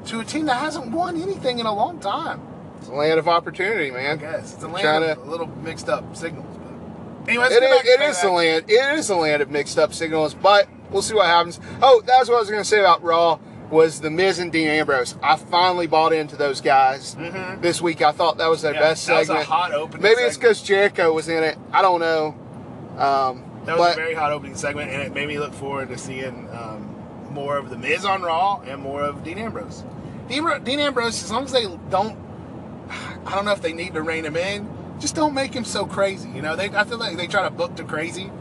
Speaker 3: to a team that hasn't won anything in a long time.
Speaker 1: it's a land of opportunity, man.
Speaker 3: I guess it's a
Speaker 1: Trying
Speaker 3: land
Speaker 1: to-
Speaker 3: of a little mixed up signals, but anyway, let's
Speaker 1: It
Speaker 3: get back
Speaker 1: is,
Speaker 3: to
Speaker 1: it is
Speaker 3: payback.
Speaker 1: the land. It is the land of mixed up signals, but we'll see what happens. Oh, that's what I was going to say about Raw was the Miz and Dean Ambrose. I finally bought into those guys
Speaker 3: Mhm.
Speaker 1: this week. I thought that was their
Speaker 3: Yeah,
Speaker 1: best
Speaker 3: that was
Speaker 1: segment.
Speaker 3: a hot opening
Speaker 1: Maybe it's
Speaker 3: segment.
Speaker 1: because Jericho was in it. I don't know. Um,
Speaker 3: That was
Speaker 1: but
Speaker 3: a very hot opening segment, and it made me look forward to seeing um, more of The Miz on Raw and more of Dean Ambrose. Dean, Ambro- Dean Ambrose, as long as they don't, I don't know if they need to rein him in. Just don't make him so crazy. You know, they I feel like they try to book to crazy.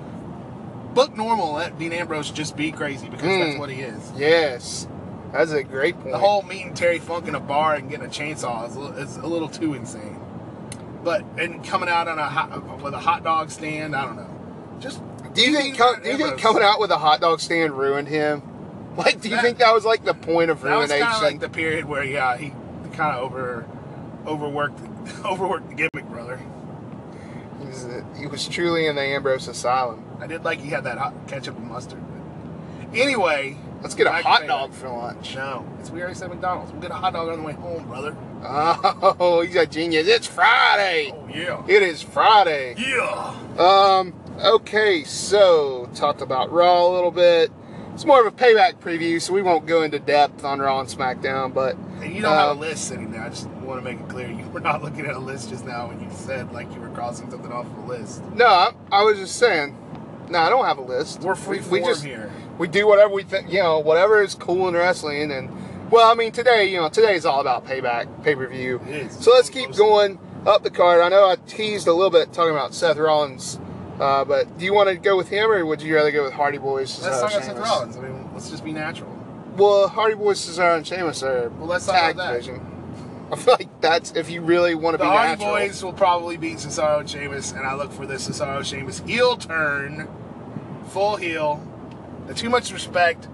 Speaker 3: Book normal. Let Dean Ambrose just be crazy because that's
Speaker 1: Mm.
Speaker 3: what he is.
Speaker 1: yes, that's a great point.
Speaker 3: The whole meeting Terry Funk in a bar and getting a chainsaw is a little, is a little too insane. But and coming out on a hot, with a hot dog stand, I don't know. Just
Speaker 1: do you think
Speaker 3: Dean
Speaker 1: co- do you think
Speaker 3: Ambrose.
Speaker 1: coming out with a hot dog stand ruined him? Like, do you
Speaker 3: That-
Speaker 1: think that was like the point of
Speaker 3: That was
Speaker 1: ruination?
Speaker 3: kind of like the period where yeah he kind of over overworked overworked the gimmick, brother.
Speaker 1: he, was, he was truly in the Ambrose Asylum.
Speaker 3: I did like he had that hot ketchup and mustard. But anyway,
Speaker 1: Let's get a
Speaker 3: back to
Speaker 1: hot
Speaker 3: Payback.
Speaker 1: dog for lunch.
Speaker 3: No, it's we already said McDonald's. We'll get a hot dog on the way home, brother.
Speaker 1: Oh, he's a genius. It's Friday.
Speaker 3: Oh yeah,
Speaker 1: It is Friday.
Speaker 2: Yeah.
Speaker 1: Um, okay, so talked about Raw a little bit. It's more of a payback preview, so we won't go into depth on Raw and SmackDown, but
Speaker 3: and you don't have
Speaker 1: Um,
Speaker 3: a list sitting there. I just want to make it clear you were not looking at a list just now when you said like you were crossing something off the list.
Speaker 1: no, I, I was just saying, No, I don't have a list.
Speaker 3: We're free
Speaker 1: we, we
Speaker 3: form
Speaker 1: just
Speaker 3: here.
Speaker 1: we do whatever we think, you know, whatever is cool in wrestling. And well, I mean, today, you know, today's all about payback, pay per view.
Speaker 3: It is.
Speaker 1: So let's keep going up the card. I know I teased a little bit talking about Seth Rollins, uh, but do you want to go with him, or would you rather go with Hardy Boys?
Speaker 3: Let's
Speaker 1: Cesaro,
Speaker 3: talk about Seth
Speaker 1: Sheamus?
Speaker 3: Rollins. I mean, let's just be natural.
Speaker 1: Well, Hardy Boys, Cesaro, and Sheamus are
Speaker 3: Well, let's talk
Speaker 1: tag
Speaker 3: about that.
Speaker 1: division. I feel like that's if you really want to
Speaker 3: The
Speaker 1: be
Speaker 3: Hardy
Speaker 1: natural.
Speaker 3: Boys will probably beat Cesaro and Sheamus, and I look for this Cesaro and Sheamus heel turn, full heel. The too much respect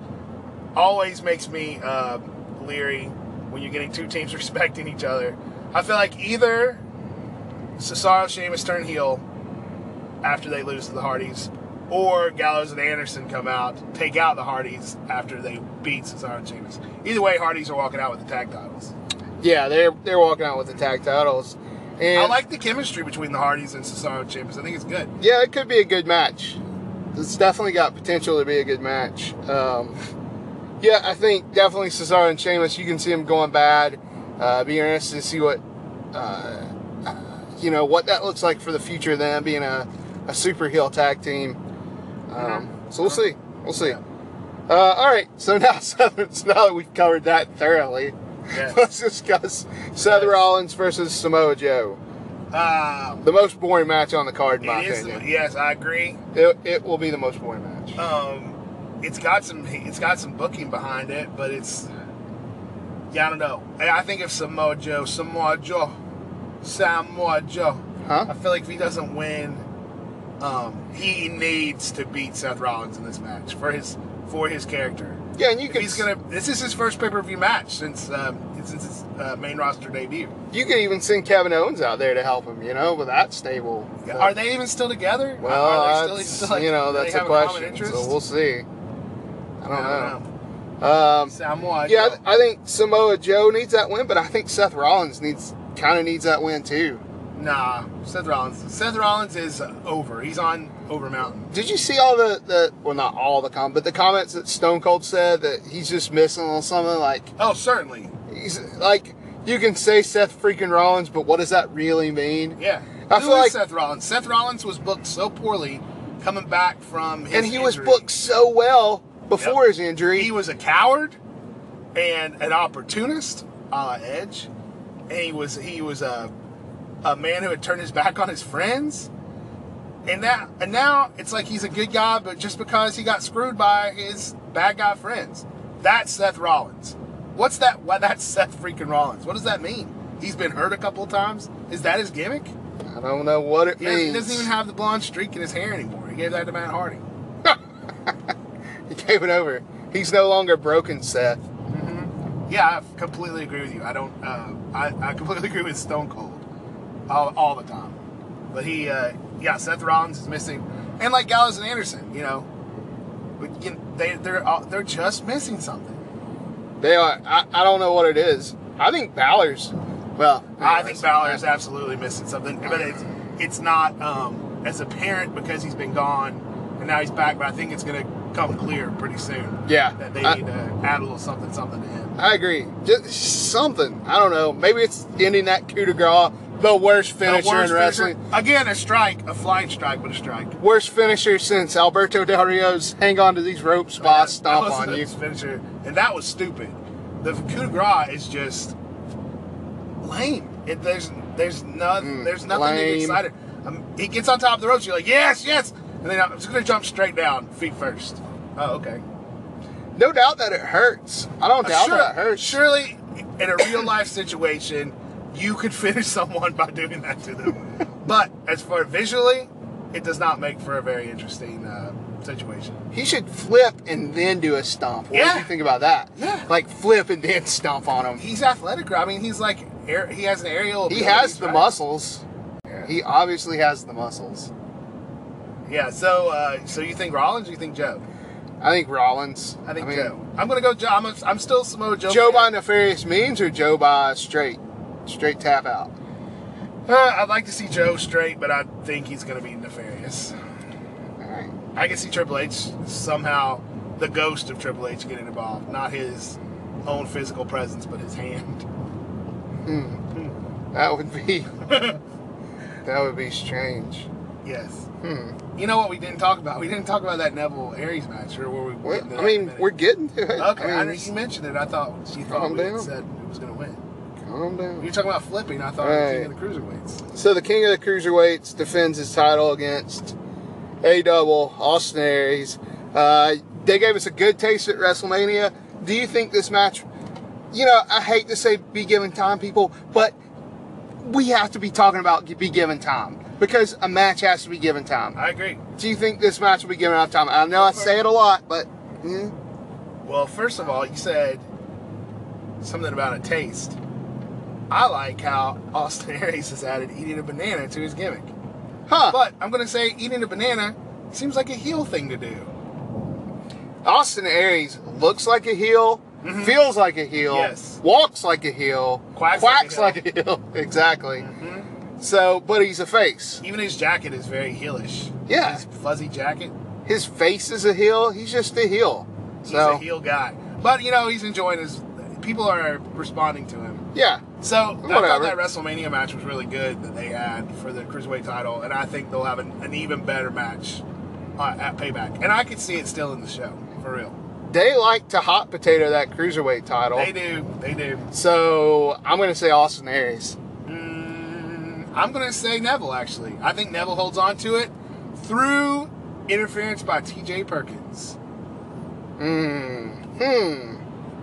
Speaker 3: always makes me uh, leery when you're getting two teams respecting each other. I feel like either Cesaro and Sheamus turn heel after they lose to the Hardys, or Gallows and Anderson come out, take out the Hardys after they beat Cesaro and Sheamus. Either way, Hardys are walking out with the tag titles.
Speaker 1: Yeah, they're they're walking out with the tag titles. And
Speaker 3: I like the chemistry between the Hardys and Cesaro and Sheamus. I think it's good.
Speaker 1: Yeah, it could be a good match. It's definitely got potential to be a good match. Um, yeah, I think definitely Cesaro and Sheamus. You can see them going bad. Uh, be interested to see what uh, you know what that looks like for the future. of Them being a, a super heel tag team.
Speaker 3: Mm-hmm.
Speaker 1: Um, so we'll see. We'll see. Uh, all right. So now, Seth- so now that we've covered that thoroughly,
Speaker 3: Yeah.
Speaker 1: let's discuss Seth Rollins versus Samoa Joe.
Speaker 3: Um,
Speaker 1: The most boring match on the card, in my
Speaker 3: it is
Speaker 1: opinion.
Speaker 3: the- yes, I agree.
Speaker 1: It, it will be the most boring match.
Speaker 3: Um, it's got some it's got some booking behind it, but it's yeah, I don't know. I, I think if Samoa Joe, Samoa Joe, Samoa Joe,
Speaker 1: Huh?
Speaker 3: I feel like if he doesn't win, um, he needs to beat Seth Rollins in this match for his for his character.
Speaker 1: Yeah, and you
Speaker 3: If
Speaker 1: could
Speaker 3: he's gonna. This is his first pay per view match since um, since his uh, main roster debut.
Speaker 1: you could even send Kevin Owens out there to help him, you know, with that stable. But-
Speaker 3: Are they even still together?
Speaker 1: Well,
Speaker 3: Are
Speaker 1: that's,
Speaker 3: still-
Speaker 1: you know
Speaker 3: do they
Speaker 1: that's a
Speaker 3: have common
Speaker 1: question.
Speaker 3: interest?
Speaker 1: so we'll see. I don't,
Speaker 3: I
Speaker 1: know.
Speaker 3: don't know.
Speaker 1: Um,
Speaker 3: Samoa
Speaker 1: yeah, I,
Speaker 3: Joe.
Speaker 1: th- I think Samoa Joe needs that win, but I think Seth Rollins needs kind of needs that win too.
Speaker 3: Nah, Seth Rollins. Seth Rollins is over. He's on over mountain.
Speaker 1: Did you see all the, the well not all the com but the comments that Stone Cold said that he's just missing on something like
Speaker 3: Oh, certainly.
Speaker 1: he's like you can say Seth freaking Rollins, but what does that really mean?
Speaker 3: Yeah.
Speaker 1: I
Speaker 3: Who
Speaker 1: feel
Speaker 3: is
Speaker 1: like-
Speaker 3: Seth Rollins. Seth Rollins was booked so poorly coming back from his
Speaker 1: and he was
Speaker 3: injury.
Speaker 1: booked so well before
Speaker 3: Yep.
Speaker 1: his injury.
Speaker 3: He was a coward and an opportunist, a la Edge. And he was he was a a man who had turned his back on his friends. And that and now it's like he's a good guy, but just because he got screwed by his bad guy friends. That's Seth Rollins. What's that? Why that's Seth freaking Rollins? What does that mean? He's been hurt a couple of times. Is that his gimmick?
Speaker 1: I don't know what it
Speaker 3: He
Speaker 1: means.
Speaker 3: doesn't, he doesn't even have the blonde streak in his hair anymore. He gave that to Matt Hardy.
Speaker 1: He gave it over. He's no longer broken, Seth.
Speaker 3: Yeah, I completely agree with you. I don't. Uh, I, I completely agree with Stone Cold all, all the time. But he, uh, yeah, Seth Rollins is missing, and like Gallows and Anderson, you know, but you know, they they're all, they're just missing something.
Speaker 1: They are. I, I don't know what it is. I think Balor's. Well,
Speaker 3: I think Balor is absolutely missing something, but it's it's not um, as apparent because he's been gone and now he's back. But I think it's gonna come clear pretty soon.
Speaker 1: Yeah.
Speaker 3: that they
Speaker 1: I-
Speaker 3: need to add a little something something to him.
Speaker 1: I agree. Just something. I don't know. Maybe it's ending that coup de grace. The worst finisher
Speaker 3: The worst
Speaker 1: in wrestling.
Speaker 3: finisher- again, a strike, a flying strike, but a strike.
Speaker 1: Worst finisher since Alberto Del Rio's hang on to these ropes boss
Speaker 3: That
Speaker 1: stomp
Speaker 3: was
Speaker 1: on
Speaker 3: the
Speaker 1: you.
Speaker 3: Finisher, and that was stupid. The coup de grace is just lame. It, there's there's no, there's nothing
Speaker 1: Mm,
Speaker 3: to
Speaker 1: lame.
Speaker 3: get excited. Um, he gets on top of the ropes. You're like, yes, yes, and then I'm just gonna jump straight down, feet first. Oh, okay.
Speaker 1: No doubt that it hurts. I don't doubt
Speaker 3: Uh, Sure-
Speaker 1: that it hurts.
Speaker 3: Surely, in a real life situation, you could finish someone by doing that to them. but as far visually, it does not make for a very interesting uh, situation.
Speaker 1: He should flip and then do a stomp. What
Speaker 3: Yeah.
Speaker 1: do you think about that?
Speaker 3: Yeah.
Speaker 1: Like flip and then stomp on him.
Speaker 3: He's athletic. I mean, he's like air, he has an aerial.
Speaker 1: He
Speaker 3: ability,
Speaker 1: has the
Speaker 3: right?
Speaker 1: muscles.
Speaker 3: Yeah.
Speaker 1: He obviously has the muscles.
Speaker 3: Yeah. So, uh, so you think Rollins? Or you think Joe?
Speaker 1: I think Rollins.
Speaker 3: I think
Speaker 1: mean,
Speaker 3: Joe. I'm gonna go Joe. I'm, a, I'm still Samoa Joe.
Speaker 1: Joe by
Speaker 3: fan.
Speaker 1: nefarious means or Joe by straight, straight tap out.
Speaker 3: Uh, I'd like to see Joe straight, but I think he's gonna be nefarious.
Speaker 1: All right.
Speaker 3: I can see Triple H somehow, the ghost of Triple H getting involved, not his own physical presence, but his hand.
Speaker 1: That would be. that would be strange.
Speaker 3: Yes.
Speaker 1: Hmm.
Speaker 3: You know what we didn't talk about? We didn't talk about that Neville Aries match or where we. we'll
Speaker 1: Well,
Speaker 3: get to
Speaker 1: I
Speaker 3: that in a
Speaker 1: mean,
Speaker 3: minute.
Speaker 1: we're getting to it.
Speaker 3: Okay,
Speaker 1: I
Speaker 3: I
Speaker 1: mean,
Speaker 3: know you mentioned it. I thought she thought
Speaker 1: Calm
Speaker 3: we had
Speaker 1: down.
Speaker 3: said who was going to win.
Speaker 1: calm
Speaker 3: You were
Speaker 1: down.
Speaker 3: talking about flipping. I thought it
Speaker 1: Right.
Speaker 3: was the king of the cruiserweights.
Speaker 1: So the king of the cruiserweights defends his title against A Double Austin Aries. Uh, they gave us a good taste at WrestleMania. Do you think this match? You know, I hate to say be given time, people, but we have to be talking about be given time because a match has to be given time.
Speaker 3: I agree.
Speaker 1: Do you think this match will be given out of time? I know I say it a lot, but hmm, yeah,
Speaker 3: Well, first of all, you said something about a taste. I like how Austin Aries has added eating a banana to his gimmick.
Speaker 1: huh?
Speaker 3: But I'm going to say eating a banana seems like a heel thing to do.
Speaker 1: Austin Aries looks like a heel, feels like a heel,
Speaker 3: Mm-hmm. Yes.
Speaker 1: walks like a heel,
Speaker 3: Quacks
Speaker 1: like
Speaker 3: like
Speaker 1: a
Speaker 3: a
Speaker 1: heel.
Speaker 3: Mm-hmm.
Speaker 1: exactly. So, but he's a face.
Speaker 3: Even his jacket is very heelish.
Speaker 1: Yeah.
Speaker 3: His fuzzy jacket.
Speaker 1: His face is a heel. He's just a heel.
Speaker 3: He's
Speaker 1: So,
Speaker 3: a heel guy. But, you know, he's enjoying his. People are responding to him.
Speaker 1: yeah,
Speaker 3: So I
Speaker 1: Whatever.
Speaker 3: thought that WrestleMania match was really good that they had for the cruiserweight title, and I think they'll have an, an even better match uh, at Payback. And I could see it still in the show for real.
Speaker 1: they like to hot potato that cruiserweight title.
Speaker 3: They do, they do.
Speaker 1: So, I'm going to say Austin Aries.
Speaker 3: Mm, I'm gonna say Neville actually. I think Neville holds on to it through interference by T.J. Perkins.
Speaker 1: Mm. Hmm.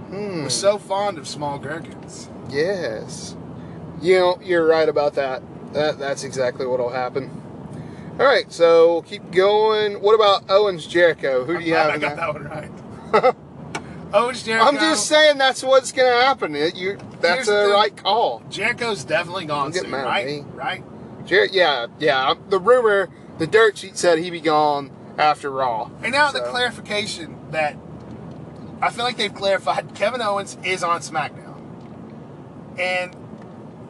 Speaker 1: Hmm.
Speaker 3: We're so fond of small gherkins.
Speaker 1: Yes. You know, you're right about that. that that's exactly what'll happen. All right, so keep going. What about Owens Jericho? Who do you have?
Speaker 3: I
Speaker 1: in
Speaker 3: got
Speaker 1: that?
Speaker 3: that one right. Owens Jericho.
Speaker 1: I'm just saying that's what's going to happen. It, you, that's
Speaker 3: Here's the
Speaker 1: a
Speaker 3: thing.
Speaker 1: right call.
Speaker 3: Jericho's definitely gone
Speaker 1: Don't get
Speaker 3: soon,
Speaker 1: mad at
Speaker 3: right?
Speaker 1: me.
Speaker 3: Right.
Speaker 1: Jer- yeah, yeah. The rumor, the dirt sheet said he'd be gone after Raw.
Speaker 3: And now the
Speaker 1: So-
Speaker 3: clarification that I feel like they've clarified Kevin Owens is on SmackDown. And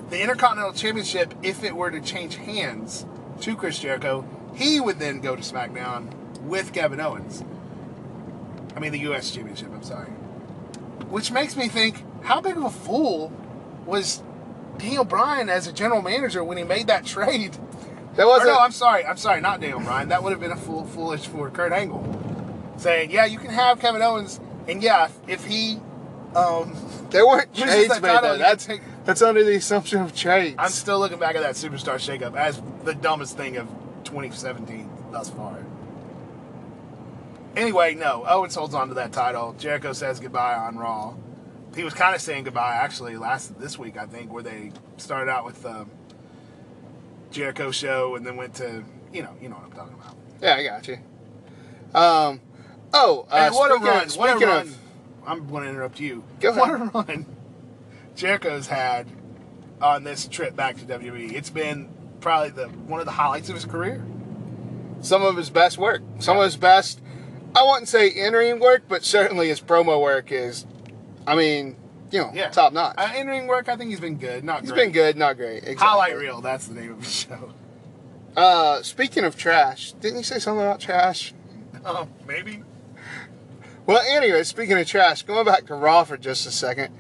Speaker 3: the Intercontinental Championship, if it were to change hands to Chris Jericho, he would then go to SmackDown with Kevin Owens. I mean, the U.S. Championship, I'm sorry. Which makes me think how big of a fool was Daniel Bryan as a general manager when he made that trade?
Speaker 1: That
Speaker 3: Or
Speaker 1: wasn't.
Speaker 3: no, I'm sorry. I'm sorry. Not Daniel Bryan. That would have been a fool, foolish for Kurt Angle. Saying, yeah, you can have Kevin Owens, and yeah, if, if he, um,
Speaker 1: they weren't
Speaker 3: Who's
Speaker 1: trades
Speaker 3: that
Speaker 1: made
Speaker 3: title
Speaker 1: though.
Speaker 3: you
Speaker 1: That's
Speaker 3: take?
Speaker 1: that's under the assumption of trades.
Speaker 3: I'm still looking back at that superstar shakeup as the dumbest thing of 2017 thus far. Anyway, no, Owens holds on to that title. Jericho says goodbye on Raw. He was kind of saying goodbye actually last this week, I think, where they started out with the Jericho show and then went to, you know, you know what I'm talking about.
Speaker 1: yeah, I got you. Um. Oh, uh,
Speaker 3: And what
Speaker 1: speaking
Speaker 3: a
Speaker 1: of-
Speaker 3: run! What a
Speaker 1: speaking
Speaker 3: run!
Speaker 1: of-
Speaker 3: I'm going to interrupt you.
Speaker 1: Go
Speaker 3: what
Speaker 1: ahead.
Speaker 3: a run! Jericho's had on this trip back to WWE. It's been probably the one of the highlights of his career.
Speaker 1: some of his best work. Some of his best, I wouldn't say interim work, but certainly his promo work is, I mean, you know,
Speaker 3: Yeah,
Speaker 1: top notch.
Speaker 3: Uh, entering work, I think he's been good. Not
Speaker 1: He's
Speaker 3: great.
Speaker 1: been good, not great. Exactly.
Speaker 3: Highlight reel. That's the name of the show.
Speaker 1: Uh, speaking of trash, didn't you say something about trash?
Speaker 3: Um, maybe.
Speaker 1: Well, anyway, speaking of trash, going back to Raw for just a second,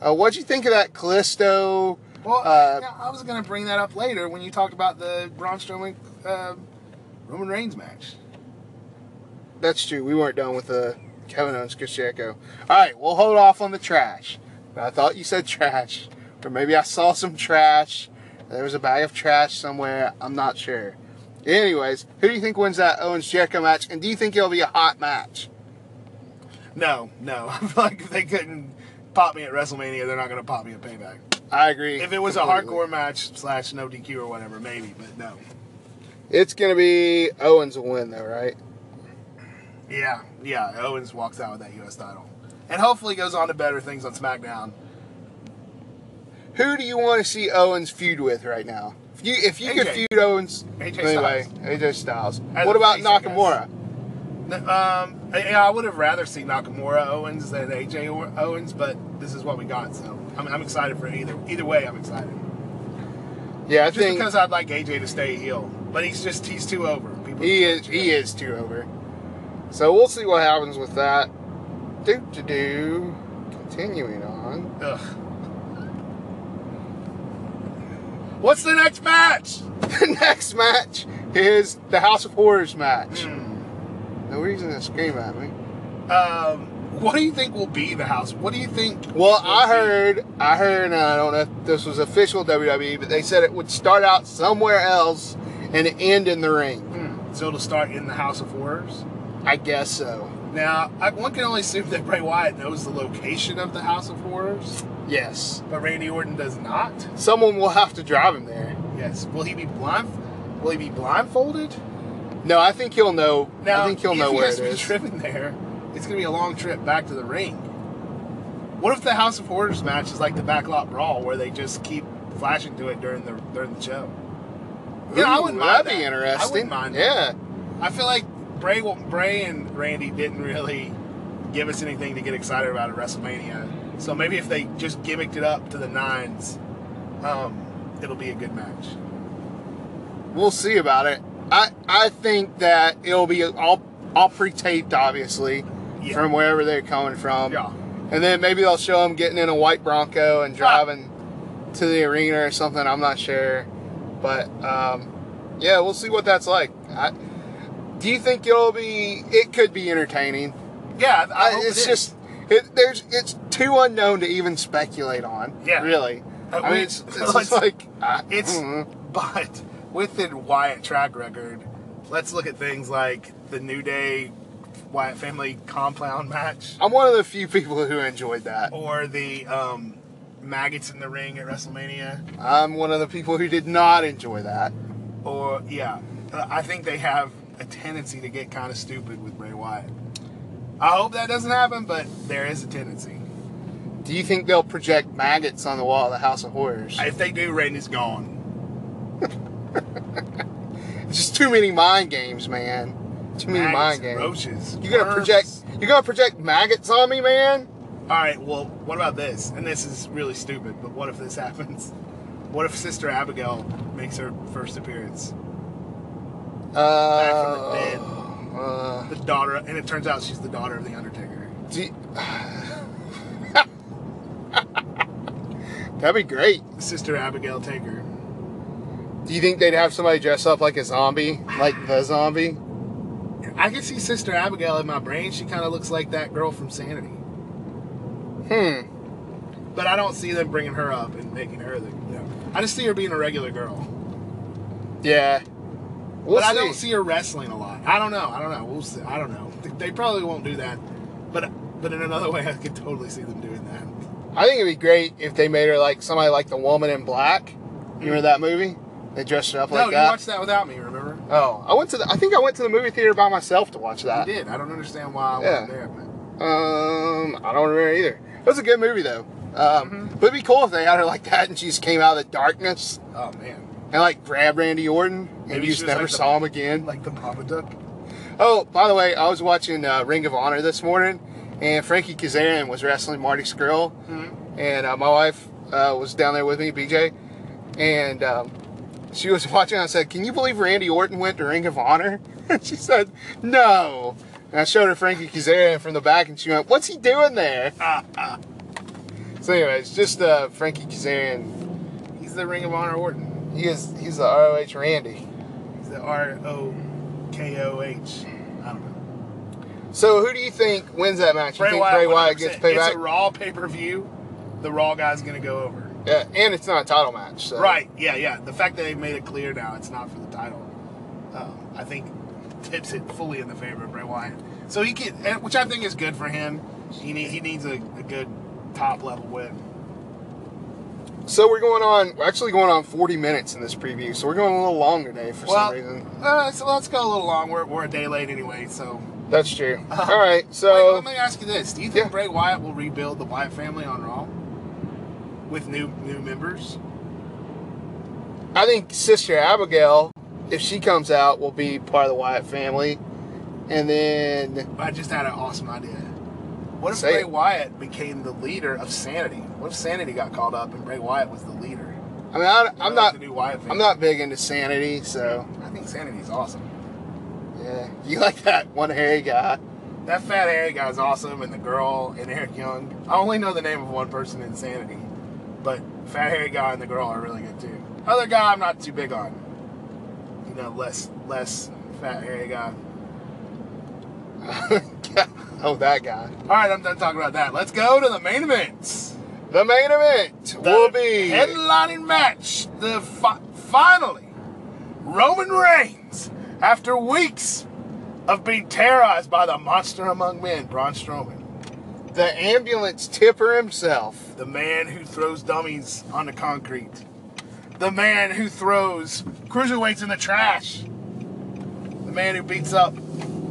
Speaker 1: uh, what'd you think of that Callisto?
Speaker 3: Well,
Speaker 1: Uh,
Speaker 3: yeah, I was going to bring that up later when you talked about the Braun Strowman uh, Roman Reigns match.
Speaker 1: That's true. We weren't done with the Kevin Owens Pacheco. All right, we'll hold off on the trash. I thought you said trash, or maybe I saw some trash. There was a bag of trash somewhere. I'm not sure. Anyways, who do you think wins that Owens Jericho match? And do you think it'll be a hot match?
Speaker 3: No, no. I feel like if they couldn't pop me at WrestleMania, they're not going to pop me at Payback.
Speaker 1: I agree.
Speaker 3: If it was a
Speaker 1: completely.
Speaker 3: hardcore match slash no DQ or whatever, maybe, but no.
Speaker 1: it's gonna be Owens will win though, right?
Speaker 3: Yeah, yeah. Owens walks out with that U.S. title, and hopefully goes on to better things on SmackDown.
Speaker 1: Who do you want to see Owens feud with right now? If you if you could
Speaker 3: AJ.
Speaker 1: feud Owens
Speaker 3: AJ
Speaker 1: anyway,
Speaker 3: Styles.
Speaker 1: AJ Styles.
Speaker 3: As
Speaker 1: what
Speaker 3: a
Speaker 1: about
Speaker 3: face, I guess.
Speaker 1: Nakamura?
Speaker 3: N- Um, yeah, I would have rather seen Nakamura Owens than AJ or- Owens, but this is what we got, so I'm, I'm excited for either. Either way, I'm excited.
Speaker 1: Yeah, I
Speaker 3: Just
Speaker 1: think
Speaker 3: because I'd like AJ to stay heel, but he's just he's too over. People
Speaker 1: He is he is two over. So we'll see what happens with that. Do to do. Continuing on.
Speaker 3: Ugh. What's the next match?
Speaker 1: The next match is the House of Horrors match.
Speaker 3: Hmm.
Speaker 1: No reason to scream at me.
Speaker 3: Um, what do you think will be the house? What do you think?
Speaker 1: Well,
Speaker 3: will
Speaker 1: I
Speaker 3: be-
Speaker 1: heard, I heard, and I don't know if this was official WWE, but they said it would start out somewhere else and end in the ring.
Speaker 3: Hmm. So it'll start in the House of Horrors.
Speaker 1: I guess so.
Speaker 3: Now, I, one can only assume that Bray Wyatt knows the location of the House of Horrors,
Speaker 1: Yes.
Speaker 3: but Randy Orton does not.
Speaker 1: Someone will have to drive him there.
Speaker 3: Yes. Will he be blind? Will he be blindfolded?
Speaker 1: No, I think he'll know.
Speaker 3: Now,
Speaker 1: I think he'll
Speaker 3: if
Speaker 1: know
Speaker 3: he
Speaker 1: where
Speaker 3: has
Speaker 1: it
Speaker 3: to be
Speaker 1: is.
Speaker 3: driven there, it's going to be a long trip back to the ring. What if the House of Horrors match is like the Backlot Brawl, where they just keep flashing to it during the during the show?
Speaker 1: Ooh,
Speaker 3: Yeah, I wouldn't mind
Speaker 1: That'd be
Speaker 3: that.
Speaker 1: interesting.
Speaker 3: I wouldn't mind
Speaker 1: Yeah.
Speaker 3: that. I feel like Bray, Bray and Randy didn't really give us anything to get excited about at WrestleMania. So maybe if they just gimmicked it up to the nines, um, it'll be a good match.
Speaker 1: We'll see about it. I I think that it'll be all all pre-taped, obviously,
Speaker 3: Yeah.
Speaker 1: from wherever they're coming from.
Speaker 3: Yeah.
Speaker 1: And then maybe they'll show them getting in a white Bronco and driving to the arena or something. I'm not sure, but um, yeah, we'll see what that's like. I, do you think it'll be? It could be entertaining.
Speaker 3: Yeah, I, I
Speaker 1: I,
Speaker 3: hope
Speaker 1: it's
Speaker 3: it is.
Speaker 1: just it, there's it's too unknown to even speculate on.
Speaker 3: Yeah.
Speaker 1: really.
Speaker 3: Uh,
Speaker 1: I
Speaker 3: we-
Speaker 1: mean, it's, it's
Speaker 3: let's-
Speaker 1: just like I-
Speaker 3: It's
Speaker 1: mm,
Speaker 3: but with the Wyatt track record, let's look at things like the New Day Wyatt family compound match
Speaker 1: I'm one of the few people who enjoyed that.
Speaker 3: or the um, maggots in the ring at WrestleMania.
Speaker 1: I'm one of the people who did not enjoy that.
Speaker 3: Or yeah, uh, I think they have a tendency to get kind of stupid with Bray Wyatt. I hope that doesn't happen, but there is a tendency.
Speaker 1: Do you think they'll project maggots on the wall of the House of Horrors?
Speaker 3: If they do, Randy's gone.
Speaker 1: It's just too many mind games, man. Too many mind
Speaker 3: Maggots,
Speaker 1: games.
Speaker 3: roaches.
Speaker 1: You're gonna
Speaker 3: worms.
Speaker 1: project. You're gonna project maggots on me, man.
Speaker 3: All right, well, what about this? And this is really stupid, but what if this happens? What if Sister Abigail makes her first appearance?
Speaker 1: Uh,
Speaker 3: dead.
Speaker 1: uh,
Speaker 3: The daughter, and it turns out she's the daughter of the Undertaker.
Speaker 1: do- That'd be great.
Speaker 3: Sister Abigail Taker.
Speaker 1: Do you think they'd have somebody dress up like a zombie, like the zombie?
Speaker 3: I can see Sister Abigail in my brain. She kind of looks like that girl from Sanity.
Speaker 1: Hmm.
Speaker 3: But I don't see them bringing her up and making her the. I just see her being a regular girl.
Speaker 1: Yeah. We'll
Speaker 3: but I
Speaker 1: see.
Speaker 3: don't see her wrestling a lot. I don't know. I don't know. We'll see. I don't know. They probably won't do that. But but in another way, I could totally see them doing that.
Speaker 1: I think it'd be great if they made her like somebody like the woman in black. You remember that movie? They dressed her up
Speaker 3: no,
Speaker 1: like
Speaker 3: you
Speaker 1: that.
Speaker 3: watched that without me. Remember?
Speaker 1: oh, I went to the. I think I went to the movie theater by myself to watch
Speaker 3: I
Speaker 1: that.
Speaker 3: did. I don't understand why I
Speaker 1: Yeah.
Speaker 3: wasn't there. But
Speaker 1: Um, I don't remember either. It was a good movie though. Um,
Speaker 3: Mm-hmm.
Speaker 1: but it'd be cool if they had her like that and she just came out of the darkness
Speaker 3: oh man,
Speaker 1: and like grabbed Randy Orton and
Speaker 3: Maybe
Speaker 1: you just
Speaker 3: she was,
Speaker 1: never
Speaker 3: like, the-
Speaker 1: saw him again.
Speaker 3: like the Papa Duck.
Speaker 1: Oh, by the way, I was watching uh, Ring of Honor this morning, and Frankie Kazarian was wrestling Marty Skrull, and uh, my wife uh, was down there with me, BJ, and um, she was watching. I said, "Can you believe Randy Orton went to Ring of Honor?" And she said, "No." And I showed her Frankie Kazarian from the back, and she went, "What's he doing there?" so, anyways, just uh, Frankie Kazarian.
Speaker 3: He's the Ring of Honor Orton.
Speaker 1: He is he's the ROH Randy.
Speaker 3: He's the R O K O H. I don't know.
Speaker 1: So, who do you think wins that match? you think Bray Wyatt gets
Speaker 3: 100%.
Speaker 1: payback?
Speaker 3: It's a Raw pay per view. The Raw guy's gonna go over.
Speaker 1: Yeah, Uh, and it's not a title match. So.
Speaker 3: Right. Yeah. Yeah. The fact that they've made it clear now it's not for the title, um, I think, tips it fully in the favor of Bray Wyatt. So he can, and- which I think is good for him. He need, he needs a, a good top level win.
Speaker 1: So we're going on. We're actually going on 40 minutes in this preview. So we're going a little long today for
Speaker 3: Well,
Speaker 1: some reason.
Speaker 3: uh, so let's go a little long. We're, we're a day late anyway, so.
Speaker 1: That's true. All right.
Speaker 3: uh-huh. Wait,
Speaker 1: So
Speaker 3: let me ask you this: Do you think
Speaker 1: Yeah.
Speaker 3: Bray Wyatt will rebuild the Wyatt family on Raw with new new members?
Speaker 1: I think Sister Abigail, if she comes out, will be part of the Wyatt family. And then
Speaker 3: I just had an awesome idea. What if
Speaker 1: Say
Speaker 3: Bray
Speaker 1: it.
Speaker 3: Wyatt became the leader of Sanity? What if Sanity got called up and Bray Wyatt was the leader?
Speaker 1: I mean I, I'm
Speaker 3: Of
Speaker 1: not
Speaker 3: the new Wyatt family.
Speaker 1: I'm not big into sanity. So
Speaker 3: I think Sanity's awesome.
Speaker 1: yeah, you like that one hairy guy?
Speaker 3: That fat hairy guy's awesome, and the girl and Eric Young. I only know the name of one person in Sanity, but fat hairy guy and the girl are really good too. Other guy I'm not too big on. you know, less less fat hairy guy.
Speaker 1: oh, that guy.
Speaker 3: All right, I'm done talking about that. Let's go to the main events.
Speaker 1: The main event
Speaker 3: The
Speaker 1: will be
Speaker 3: headlining match. The fi- finally Roman Reigns, after weeks of being terrorized by the monster among men, Braun Strowman,
Speaker 1: the ambulance tipper himself.
Speaker 3: the man who throws dummies on the concrete, the man who throws cruiserweights in the trash, the man who beats up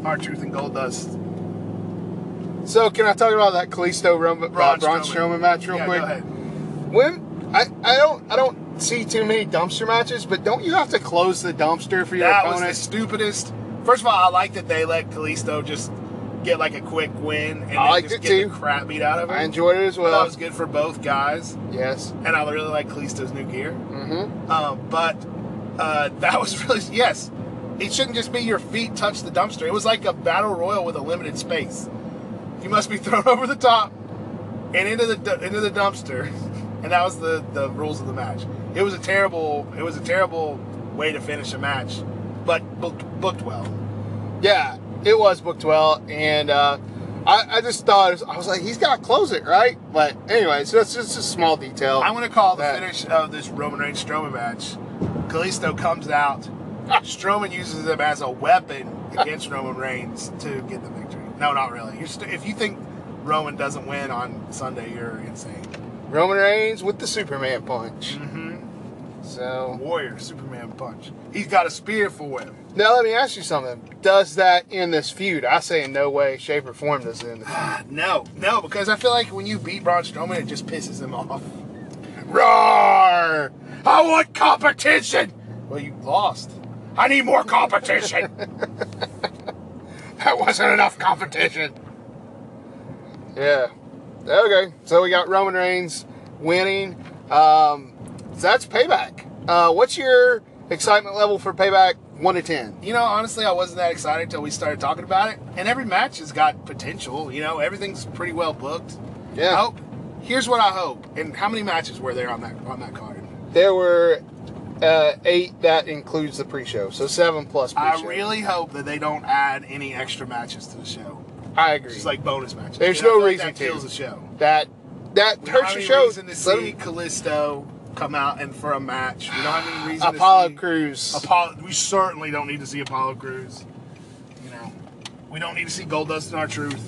Speaker 3: our truth and gold dust.
Speaker 1: So, can I talk about that Kalisto Rum- uh, Braun,
Speaker 3: Braun
Speaker 1: Strowman match real
Speaker 3: Yeah,
Speaker 1: quick?
Speaker 3: Go ahead.
Speaker 1: When I, I don't I don't see too many dumpster matches, but don't you have to close the dumpster for your
Speaker 3: that was
Speaker 1: opponent?
Speaker 3: the stupidest. First of all, I like that they let Kalisto just get like a quick win and
Speaker 1: I
Speaker 3: then
Speaker 1: liked
Speaker 3: just
Speaker 1: it
Speaker 3: get
Speaker 1: too.
Speaker 3: the crap beat out of him.
Speaker 1: I enjoyed it as
Speaker 3: I thought
Speaker 1: well.
Speaker 3: it was good for both guys,
Speaker 1: Yes.
Speaker 3: and I really like Kalisto's new gear.
Speaker 1: Mm-hmm.
Speaker 3: Um, but uh, that was really yes. It shouldn't just be your feet touch the dumpster. It was like a battle royal with a limited space. You must be thrown over the top and into the du- into the dumpster, and that was the the rules of the match. It was a terrible it was a terrible way to finish a match, but booked, booked well.
Speaker 1: Yeah, it was booked well, and uh, I, I just thought it was, I was like, he's got to close it, right? But anyway, so that's just a small detail.
Speaker 3: I'm going to call the
Speaker 1: That-
Speaker 3: finish of this Roman Reigns Strowman match. Kalisto comes out. Strowman uses him as a weapon against Roman Reigns to get the victory. No, not really. You're st- if you think Roman doesn't win on Sunday, you're insane.
Speaker 1: Roman Reigns with the Superman punch.
Speaker 3: Mm-hmm.
Speaker 1: So
Speaker 3: Warrior, Superman punch. He's got a spear for him.
Speaker 1: now let me ask you something. Does that end this feud? I say in no way, shape, or form does it end. This.
Speaker 3: No, no, because I feel like when you beat Braun Strowman, it just pisses him off.
Speaker 1: Roar!
Speaker 3: I want competition. Well, you lost. I need more competition. that wasn't enough competition.
Speaker 1: Yeah. Okay. So we got Roman Reigns winning. Um, so that's payback. Uh, what's your excitement level for payback? One to ten.
Speaker 3: You know, honestly, I wasn't that excited until we started talking about it. And every match has got potential. You know, everything's pretty well booked.
Speaker 1: Yeah.
Speaker 3: I hope. Here's what I hope. And how many matches were there on that on that card?
Speaker 1: There were uh, eight. That includes the pre-show, so seven plus
Speaker 3: I
Speaker 1: pre-show.
Speaker 3: really hope that they don't add any extra matches to the show.
Speaker 1: I agree.
Speaker 3: Just like bonus matches.
Speaker 1: There's
Speaker 3: You know, I
Speaker 1: no
Speaker 3: feel like
Speaker 1: reason
Speaker 3: that
Speaker 1: to.
Speaker 3: kills the show.
Speaker 1: that. That
Speaker 3: We don't
Speaker 1: hurts
Speaker 3: have
Speaker 1: your
Speaker 3: any
Speaker 1: show.
Speaker 3: reason to see Callisto come out and for a match. We don't have any reason
Speaker 1: Apollo
Speaker 3: to see
Speaker 1: Crews.
Speaker 3: Apollo. We certainly don't need to see Apollo Crews. You know, we don't need to see Goldust and our truth.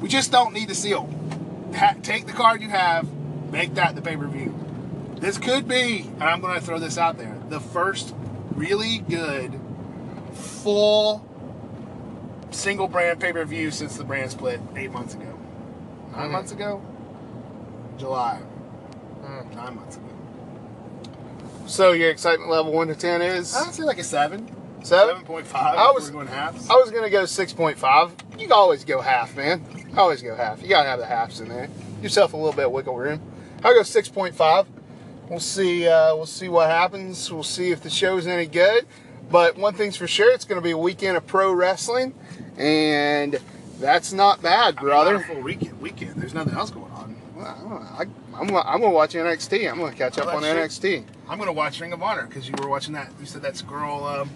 Speaker 3: We just don't need to see them. Ha- take the card you have, make that the pay per view. This could be, and I'm going to throw this out there, the first really good full single brand pay per view since the brand split eight months ago. 9
Speaker 1: Mhm.
Speaker 3: months ago? July.
Speaker 1: Mm.
Speaker 3: Nine months ago.
Speaker 1: So your excitement level one to ten is
Speaker 3: I'd say like a seven.
Speaker 1: seven.
Speaker 3: 7.5.
Speaker 1: I was-
Speaker 3: going halves.
Speaker 1: I was gonna go six point five. You can always go half, man. Always go half. You gotta have the halves in there. Yourself a little bit of wiggle room. I'll go six point five. We'll see. Uh, we'll see what happens. We'll see if the show's any good. But one thing's for sure, it's gonna be a weekend of pro wrestling, and that's not bad, brother.
Speaker 3: Not a full weekend. Weekend. There's nothing else going on.
Speaker 1: Well, I don't know. I, I'm, gonna- I'm gonna watch NXT. I'm gonna catch up
Speaker 3: Well,
Speaker 1: on
Speaker 3: that
Speaker 1: NXT.
Speaker 3: shit- I'm gonna watch Ring of Honor because you were watching that. You said that girl. Um,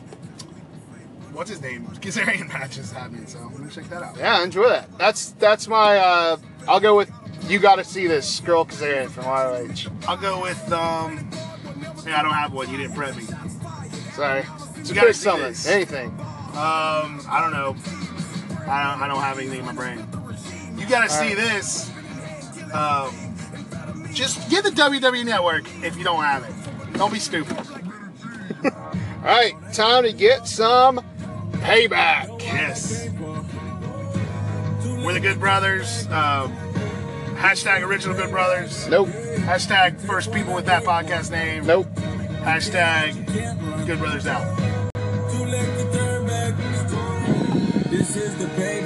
Speaker 3: what's his name? Kazarian match is happening, so I'm gonna check that out.
Speaker 1: Yeah, I enjoy that. That's that's my. Uh, I'll go with you. Got to see this girl Kazarian from ROH.
Speaker 3: I'll go with. Um, yeah, I don't have one. You didn't prep me. Um,
Speaker 1: Sorry,
Speaker 3: You gotta
Speaker 1: Pick
Speaker 3: see
Speaker 1: something,
Speaker 3: this.
Speaker 1: anything.
Speaker 3: Um, I don't know. I don't, I don't have anything in my brain. You gotta see this. Um, just get the WWE Network if you don't have it. Don't be stupid.
Speaker 1: All right, time to get some payback.
Speaker 3: Yes. We're the Good Brothers. Um, hashtag Original Good Brothers.
Speaker 1: Nope,
Speaker 3: Hashtag First People with That Podcast Name.
Speaker 1: nope.
Speaker 3: Hashtag Good Brothers Out.
Speaker 4: Too late to turn back. This is the pay.